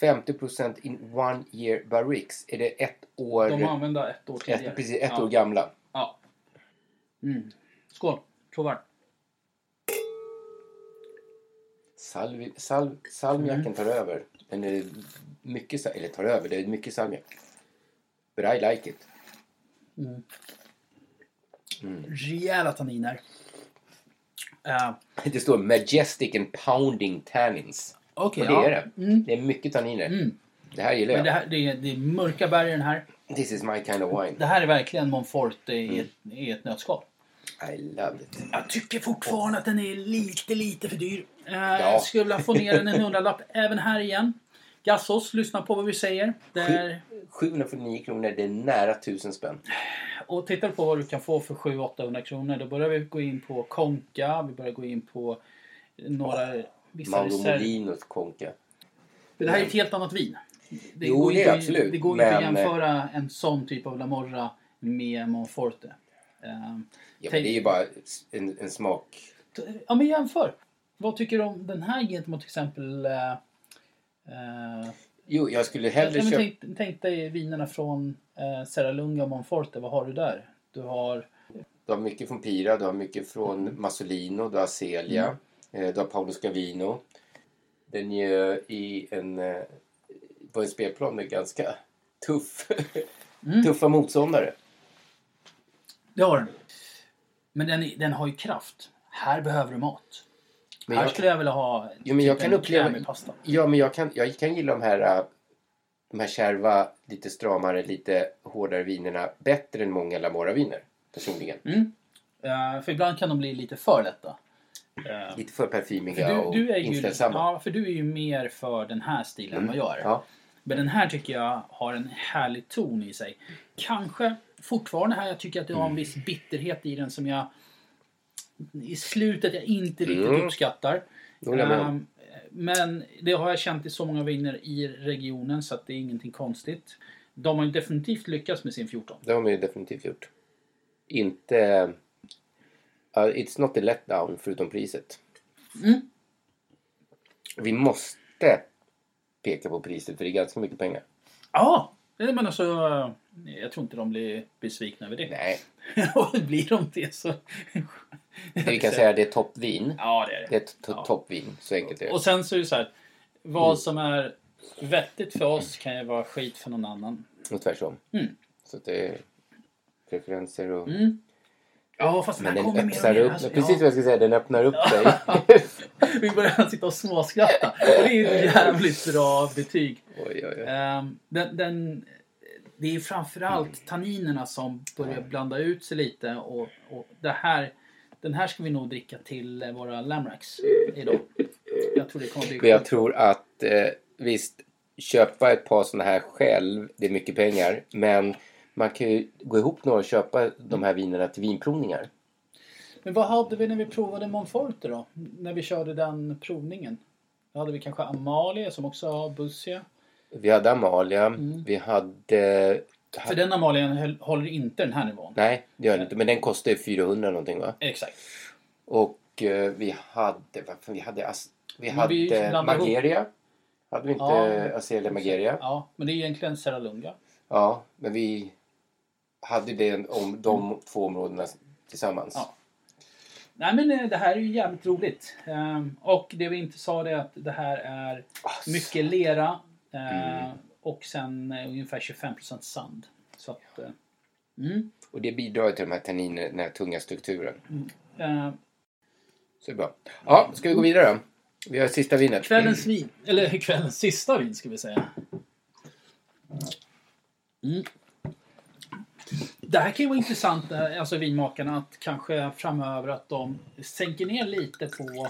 Speaker 3: 50% in one year barricks. Är det ett år,
Speaker 2: De använder ett år tidigare.
Speaker 3: ett, precis, ett
Speaker 2: ja.
Speaker 3: år gamla?
Speaker 2: Ja. Mm. Skål! Provar.
Speaker 3: Salvi, sal, salmiaken
Speaker 2: Mm.
Speaker 3: tar över. Den är mycket, sa- eller tar över, det är mycket salmiak. But I like it.
Speaker 2: Rejäla tanniner. Eh,
Speaker 3: Det står Majestic and Pounding Tannins.
Speaker 2: Okej,
Speaker 3: Och det
Speaker 2: ja. Mm.
Speaker 3: är det. Det är mycket tanniner. Det här gillar
Speaker 2: Men
Speaker 3: jag.
Speaker 2: det, här, det, är, det är mörka bär i den här.
Speaker 3: This is my kind of wine.
Speaker 2: Det här är verkligen Monforte i
Speaker 3: Mm.
Speaker 2: ett, i ett nötskal.
Speaker 3: I love it.
Speaker 2: Jag tycker fortfarande att den är lite, lite för dyr. Eh,
Speaker 3: Ja.
Speaker 2: Jag skulle vilja få ner den en hundralapp även här igen. Gassos, lyssna på vad vi säger. Där,
Speaker 3: 749 kronor, det är nära 1000 spänn.
Speaker 2: och tittar du på vad du kan få för 700-800 kronor. Då börjar vi gå in på Konka, vi börjar gå in på några... Vissa
Speaker 3: Mauro
Speaker 2: reserv.
Speaker 3: Molinos konka.
Speaker 2: Men Det här är ett helt annat vin. Det
Speaker 3: Jo,
Speaker 2: går
Speaker 3: det är
Speaker 2: inte-
Speaker 3: absolut,
Speaker 2: Det går ju inte att
Speaker 3: men-
Speaker 2: jämföra en sån typ av Lamorra med Monforte. Ehm,
Speaker 3: Ja, men
Speaker 2: Tänk-
Speaker 3: det är ju bara en, en smak.
Speaker 2: t- Ja, men jämför. Vad tycker du om den här gentemot till exempel... eh, eh,
Speaker 3: Jo, jag skulle
Speaker 2: Ja,
Speaker 3: hellre
Speaker 2: men
Speaker 3: köpa...
Speaker 2: tänk, tänk dig vinerna från eh, Serra Lunga och Monforte. Vad har du där? Du har...
Speaker 3: Du har mycket från Pira, du har mycket
Speaker 2: Mm.
Speaker 3: från Masolino, du har Celia, eh, du har Paolo Scavino. Den är ju i en, eh, på en spelplan med ganska tuff,
Speaker 2: Mm.
Speaker 3: tuffa motståndare.
Speaker 2: Det har den. Men den, är- den har ju kraft. Här behöver du mat.
Speaker 3: Men
Speaker 2: här
Speaker 3: jag-
Speaker 2: skulle jag vilja ha
Speaker 3: Jo, men jag
Speaker 2: typ
Speaker 3: kan
Speaker 2: en
Speaker 3: uppleva-
Speaker 2: krämig pasta.
Speaker 3: Ja, men jag kan, jag kan gilla de här, äh, de här kärva, lite stramare, lite hårdare vinerna bättre än många Lamora-viner. Personligen.
Speaker 2: Mm. Eh, för ibland kan de bli lite för lätta. Eh,
Speaker 3: Lite för parfymiga
Speaker 2: Du,
Speaker 3: och
Speaker 2: du, är ju,
Speaker 3: inställsamma.
Speaker 2: ja, för du är ju mer för den här stilen än vad jag är.
Speaker 3: Ja.
Speaker 2: Men den här tycker jag har en härlig ton i sig. Kanske fortfarande här, jag tycker att det har en viss bitterhet i den som jag i slutet jag inte riktigt
Speaker 3: Mm.
Speaker 2: uppskattar.
Speaker 3: Jo, det håller jag med om.
Speaker 2: Ehm, men det har jag känt i så många viner i regionen så att det är ingenting konstigt. De har ju definitivt lyckats med sin 14.
Speaker 3: Det har man ju definitivt gjort. Inte... ja, it's not a letdown förutom priset.
Speaker 2: Mm.
Speaker 3: Vi måste peka på priset för det är ganska mycket pengar.
Speaker 2: Ja! Nej, Men alltså, jag tror inte de blir besvikna över det.
Speaker 3: Nej,
Speaker 2: Och blir de det så...
Speaker 3: vi kan säga att det är toppvin.
Speaker 2: Ja, det är
Speaker 3: Det är
Speaker 2: det.
Speaker 3: ett to- toppvin, så enkelt är det.
Speaker 2: Och sen så är det så här. Vad
Speaker 3: Mm.
Speaker 2: som är vettigt för oss kan ju vara skit för någon annan.
Speaker 3: Och tvärtom.
Speaker 2: Mm.
Speaker 3: Så att det är preferenser och...
Speaker 2: Ja, fast
Speaker 3: Men
Speaker 2: den
Speaker 3: den
Speaker 2: kommer mer
Speaker 3: öppnar
Speaker 2: och mer.
Speaker 3: upp.
Speaker 2: Alltså,
Speaker 3: Precis
Speaker 2: ja.
Speaker 3: vad jag ska säga, den öppnar upp sig.
Speaker 2: Vi börjar sitta och småskratta. Och det är ju ett jävligt bra betyg.
Speaker 3: oj, oj, oj.
Speaker 2: Ehm, den, den, det är
Speaker 3: Mm.
Speaker 2: framförallt tanninerna som börjar blanda ut sig lite. Och, och det här, den här ska vi nog dricka till eh, våra Lamrax idag. Jag tror det kommer bli
Speaker 3: Men jag tror att eh, visst, köpa ett par sådana här själv, det är mycket pengar. Men man kan ju gå ihop några och köpa de här vinerna till vinprovningar.
Speaker 2: Men vad hade vi när vi provade Monforte då? När vi körde den provningen? Då hade vi kanske Amalie som också har Bussia.
Speaker 3: Vi hade Amalia, vi hade...
Speaker 2: Mm. För den Amalien höll- håller inte den här nivån.
Speaker 3: Nej, det gör den inte. Men den kostade 400 någonting va?
Speaker 2: Exakt.
Speaker 3: Och eh, vi hade... Vad fan, vi hade, as, vi
Speaker 2: Men vi
Speaker 3: hade
Speaker 2: blandade ihop.
Speaker 3: Mageria. Hade vi inte
Speaker 2: Ja.
Speaker 3: Azelia Mageria?
Speaker 2: Ja, men det är egentligen Serra Lunga.
Speaker 3: Ja, men vi hade det om de två områdena tillsammans.
Speaker 2: Ja. Nej men eh, det här är ju jävligt roligt. Ehm, och det vi inte sa det är att det här är mycket lera eh, och sen eh, ungefär 25% sand. Så att, eh, mm,
Speaker 3: Och det bidrar till de här tanninerna, den här tunga strukturen.
Speaker 2: eh,
Speaker 3: Så det är bra. Ja, ska vi gå vidare då? Vi har sista vinet.
Speaker 2: kvällens vin, eller kvällens sista vin ska vi säga. Mm. Det här kan ju vara intressant, eh, alltså vinmakarna, att kanske framöver att de sänker ner lite på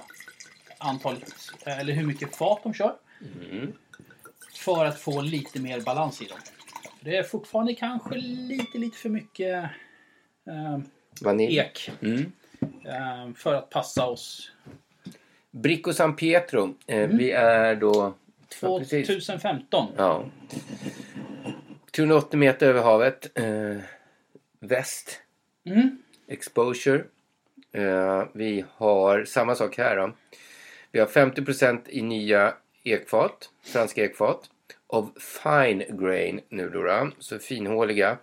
Speaker 2: antalet, eh, eller hur mycket fat de kör.
Speaker 3: Mm.
Speaker 2: För att få lite mer balans i dem. För Det är fortfarande kanske lite, lite för mycket eh,
Speaker 3: Vanilj.
Speaker 2: ek
Speaker 3: Mm.
Speaker 2: eh, för att passa oss.
Speaker 3: Bricco San Pietro. Eh,
Speaker 2: Mm.
Speaker 3: Vi är då... Ja, precis.
Speaker 2: 2015.
Speaker 3: Ja. 380 meter över havet. Eh, väst.
Speaker 2: Mm.
Speaker 3: Exposure. Eh, vi har samma sak här. Då. Vi har 50 i nya ekfat, franska ekfat. Av fine grain nu då, då så finhåliga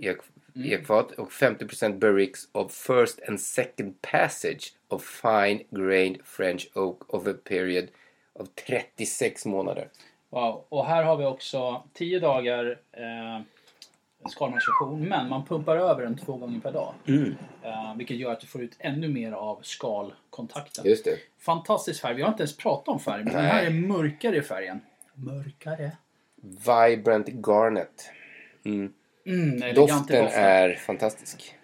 Speaker 3: ek, ekfat. Och 50 barricks of first and second passage of fine grained French oak of a period of 36 månader.
Speaker 2: Wow. Och här har vi också 10 dagar eh, skalmanipulation, men man pumpar över den två gånger per dag.
Speaker 3: Mm.
Speaker 2: Eh, vilket gör att du får ut ännu mer av skalkontakten.
Speaker 3: Just det.
Speaker 2: Fantastisk färg. Vi har inte ens pratat om färg, men den här är mörkare i färgen. Mörkare?
Speaker 3: Vibrant Garnet.
Speaker 2: Mm, elegant i
Speaker 3: Doften är fantastisk.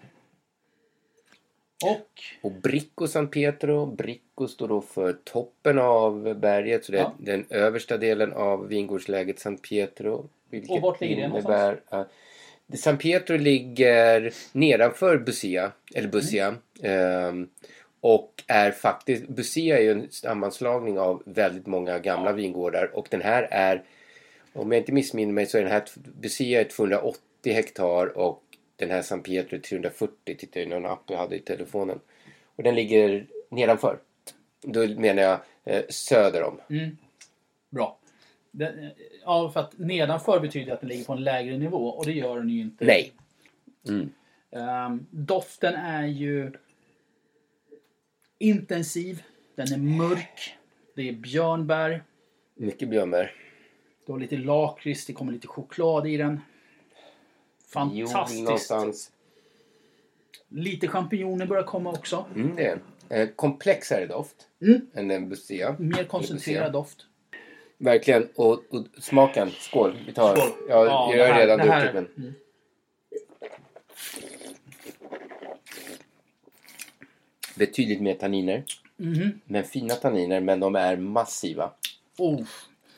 Speaker 2: Och
Speaker 3: Och Bricco San Pietro, Bricco står då för toppen av berget, så det är
Speaker 2: Ja.
Speaker 3: den översta delen av vingårdsläget San Pietro. Vilket
Speaker 2: Och vart ligger det
Speaker 3: innebär att- det San Pietro ligger nedanför Busia, eller Busia. ehm, och är faktiskt, Busia är ju en sammanslagning av väldigt många gamla vingårdar och den här är, om jag inte missminner mig så är den här, Busia är 280 hektar och den här San Pietro är 340, tittar jag i någon app jag hade i telefonen. Och den ligger nedanför. Då menar jag eh, söder om.
Speaker 2: bra. Den, ja, för att nedanför betyder att den ligger på en lägre nivå och det gör den ju inte.
Speaker 3: Nej.
Speaker 2: Ehm, doften är ju intensiv. Den är mörk. Det är björnbär.
Speaker 3: Mycket björnbär.
Speaker 2: Du har lite lakrits. Det kommer lite choklad i den.
Speaker 3: Jord
Speaker 2: Fantastiskt.
Speaker 3: någonstans.
Speaker 2: Lite champinjoner börjar komma också.
Speaker 3: Mm, det är en. Eh, komplexare doft än en Busia.
Speaker 2: Mer koncentrerad doft.
Speaker 3: Verkligen. Och, och smaken. Skål. Vi tar.
Speaker 2: Skål.
Speaker 3: Ja,
Speaker 2: Ja,
Speaker 3: jag
Speaker 2: det
Speaker 3: har
Speaker 2: här-
Speaker 3: redan
Speaker 2: det här-
Speaker 3: druckit men. Betydligt mer tanniner.
Speaker 2: Mhm.
Speaker 3: Men fina tanniner, men de är massiva.
Speaker 2: Oh,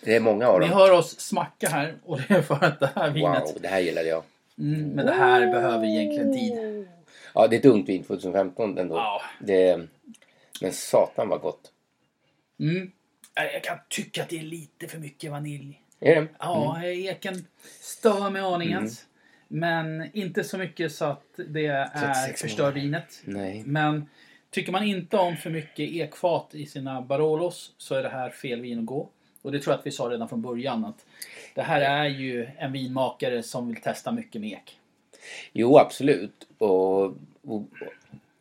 Speaker 3: Det är många av
Speaker 2: ni
Speaker 3: dem.
Speaker 2: hör oss smacka här och det är för att det här vinet.
Speaker 3: Wow, det här gillade jag.
Speaker 2: Mm, men det här behöver egentligen tid.
Speaker 3: Ja, det är ett ungt vin 2015 ändå.
Speaker 2: Ja.
Speaker 3: Det, men satan vad gott.
Speaker 2: Nej, Jag kan tycka att det är lite för mycket vanilj.
Speaker 3: Är det?
Speaker 2: Ja, eken stör mig aningens. Men inte så mycket så att det är
Speaker 3: 36
Speaker 2: förstör vinet.
Speaker 3: Nej.
Speaker 2: Men tycker man inte om för mycket ekfat i sina Barolos så är det här fel vin att gå. Och det tror jag att vi sa redan från början att det här är ju en vinmakare som vill testa mycket med ek.
Speaker 3: Jo, absolut. Och, och, och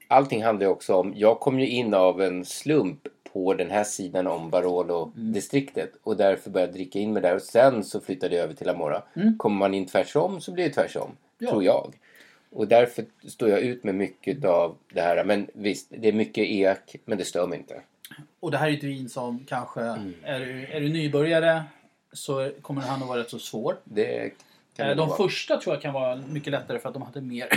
Speaker 3: allting handlar ju också om... Jag kom ju in av en slump på den här sidan om
Speaker 2: Mm.
Speaker 3: Barolo-distriktet och därför började jag dricka in mig där och sen så flyttade jag över till Amora.
Speaker 2: Mm.
Speaker 3: Kommer man in tvärsom så blir det tvärsom, tror jag. Och därför står jag ut med mycket av det här. Men visst, det är mycket ek, men det stör mig inte.
Speaker 2: Och det här är ett vin som kanske, är, du, är du nybörjare så kommer han att vara rätt så svår.
Speaker 3: Det kan
Speaker 2: Eh,
Speaker 3: det
Speaker 2: De
Speaker 3: vara.
Speaker 2: första tror jag kan vara mycket lättare för att de hade mer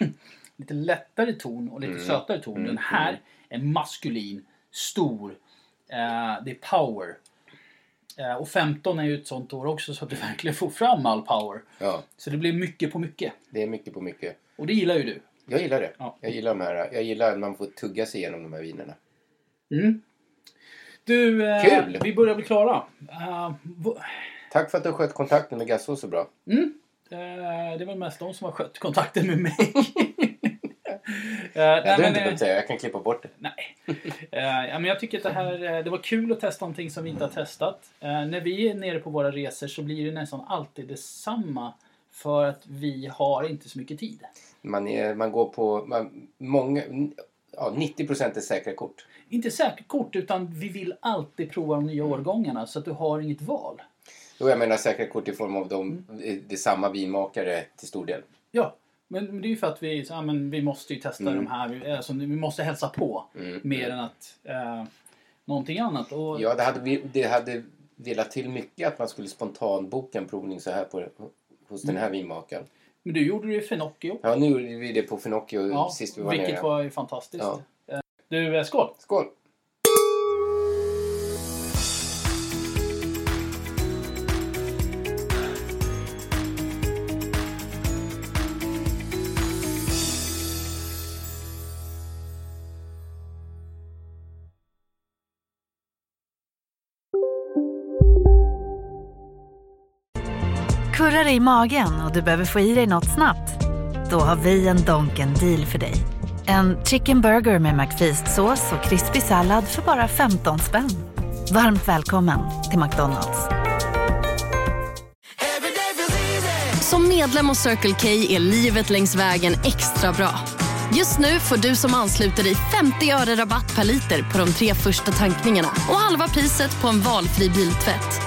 Speaker 2: lite lättare ton och
Speaker 3: Mm.
Speaker 2: lite sötare ton. Den här är maskulin, stor, eh, det är power. Eh, och 15 är ju ett sånt år också så att du
Speaker 3: Mm.
Speaker 2: verkligen får fram all power.
Speaker 3: Ja,
Speaker 2: Så det blir mycket på mycket.
Speaker 3: det är mycket på mycket.
Speaker 2: Och det gillar ju du.
Speaker 3: Jag gillar det.
Speaker 2: Ja.
Speaker 3: Jag gillar de här. Jag gillar att man får tugga sig igenom de här vinerna.
Speaker 2: Du, eh,
Speaker 3: Kul!
Speaker 2: vi börjar bli klara. Eh, v-
Speaker 3: Tack för att du sköt kontakten med Gasso så bra.
Speaker 2: eh, det var mest de som har skött kontakten med mig. Eh,
Speaker 3: Det hade du
Speaker 2: men,
Speaker 3: inte
Speaker 2: eh,
Speaker 3: behövt säga. Jag kan klippa bort det.
Speaker 2: Nej. Eh, ja, men jag tycker att det, här, eh, det var kul att testa någonting som vi inte har testat. Eh, när vi är nere på våra resor så blir det nästan alltid detsamma För att vi har inte så mycket tid.
Speaker 3: Man, är, man går på... Man, många, ja, 90 procent är säkra kort.
Speaker 2: Inte säkert kort utan vi vill alltid prova de nya årgångarna så att du har inget val.
Speaker 3: Jo, jag menar säkra kort i form av de,
Speaker 2: Mm.
Speaker 3: det är samma vinmakare till stor del.
Speaker 2: Ja, men men det är ju för att vi, så, ja, men vi måste ju testa
Speaker 3: Mm.
Speaker 2: de här. vi- Alltså, vi måste hälsa på mer än att eh, någonting annat. Och,
Speaker 3: Ja, det hade, vi- det hade velat till mycket att man skulle spontanboka en provning så här på, hos den här vinmakaren.
Speaker 2: Men du gjorde det ju för Nocchi också.
Speaker 3: Ja, nu gjorde vi det på Finocchio sist vi var
Speaker 2: vilket
Speaker 3: nere.
Speaker 2: var ju fantastiskt.
Speaker 3: Ja.
Speaker 2: Eh, Du, eh, skål!
Speaker 3: Skål!
Speaker 4: Kurrar i magen och du behöver få i dig något snabbt? Då har vi en Donken deal för dig. En chicken burger med McFeast-sås och krispig sallad för bara 15 spänn. Varmt välkommen till McDonalds.
Speaker 6: Som medlem hos Circle K är livet längs vägen extra bra. Just nu får du som ansluter dig 50 öre rabatt per liter på de tre första tankningarna och halva priset på en valfri biltvätt.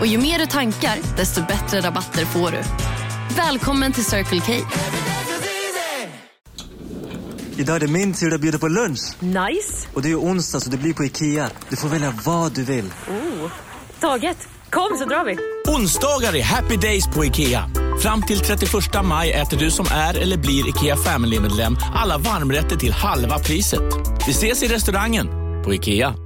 Speaker 6: Och ju mer du tankar, desto bättre rabatter får du. Välkommen till Circle K.
Speaker 7: Idag är det min tur att bjuda på lunch.
Speaker 8: Nice.
Speaker 7: Och det är ju onsdag så det blir på IKEA. Du får välja vad du vill.
Speaker 8: Oh. Taget. Kom så drar vi.
Speaker 9: Onsdagar är happy days på IKEA. Fram till 31 maj äter du som är eller blir IKEA Family-medlem alla varmrätter till halva priset. Vi ses i restaurangen på IKEA.